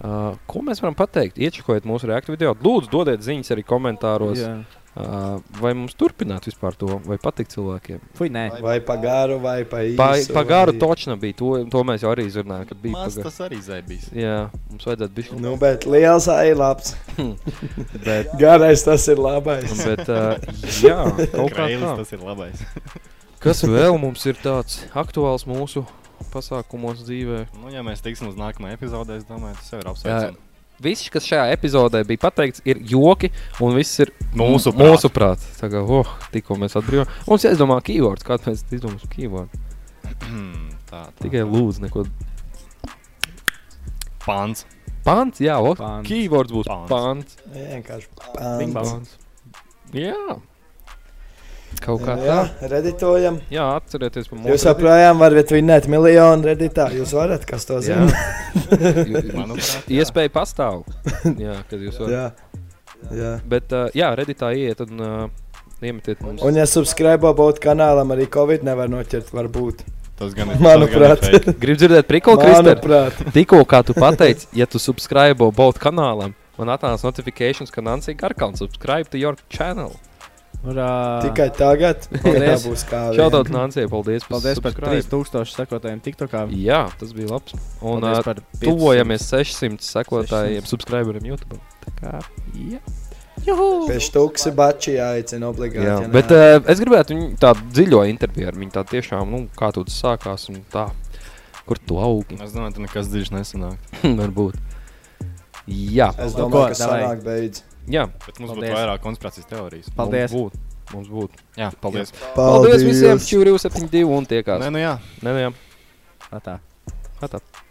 Uh, ko mēs varam pateikt? Iečakojiet mūsu reaktu video. Lūdzu, dodiet ziņas arī komentāros. Jā. Uh, Uh, vai mums turpināt vispār to, vai patikt cilvēkiem? Fui, nē. Vai pagāru, vai pa īsu. Pa, pa garu vai... točna bija, to, to mēs jau arī izrunājām, ka bija Maz pa garu. tas arī zaibīs. Jā, mums vajadzētu bišķi. Nu, bet liels ai labs. Hm. Bet- Garais tas ir labais. Bet, uh, jā, kaut kā Kreilis tā. tas ir labais. Kas vēl mums ir tāds aktuāls mūsu pasākumos dzīvē? Nu, ja mēs tiksim uz nākamā epizodē, es domāju, tas jau ir Jā, apsveicami. Viss, kas šajā epizodē bija pateikts, ir joki, un viss ir Mūsuprāt. mūsu prāt. Tā kā, oh, tikko mēs atbrīvojām. Mums jāizdomā keywords, kāds mēs izdomāsim keyword. tā, tā. Tikai lūdzu, neko. Pants. Pants, jā, o, Pants. keywords būs Pants. pants. pants. Vienkārši Bing pants. pants. Jā. Kaut kā Jā, tā. reditojam. Jā, atcerieties par Jūs joprojām varat vinnēt miljonu reditā. Jūs varat, kas to Jā. zina? Manuprāt, Iespēja pastāv. Jā, kad jūs varat. Jā. Jā. Bet, uh, jā, redītā ieiet un uh, iemetiet mums. Un, ja subscribe būtu kanālam, arī Covid nevar noķert, varbūt. Tas gan ir. Manuprāt. tas gan ir fake. Gribu dzirdēt, priklu, Kristēn? Manuprāt. Tikko kā tu pateici, ja tu subscribe both kanālam, man atnāca notifikācijas, ka Nancy Garkauns subscribe to your channel. Urā! Tikai tagad. Tā Paldies. būs kā. vien. Šādaut Nancy, paldies par Paldies par subscribe. 3000 sekotājiem TikTokā. Jā, tas bija labs. Un Paldies ā, par 500. tuvojamies 600 sekotājiem, 600. subscriberiem YouTube. Tā kā, jā. Pēc stūksi bači jāicina obligāti. Jā, ja bet nē. uh, es gribētu viņu tādu dziļo interviju ar viņu. Tā tiešām, nu, kā tur tas sākās un tā, kur tu augi. Es domāju, ka nekas dziļš nesanāk. Varbūt. Jā, Es Nu, domāju, ko, ka davai. sanāk beidz. jā. Bet mums Paldies. būtu vairāk konspirācijas teorijas. Paldies! Mums būtu. Mums būtu. Jā, paldies. Paldies visiem! Čūriju 72 un tiekās. Nē, nu jā. Nē, nē, Atā. tā.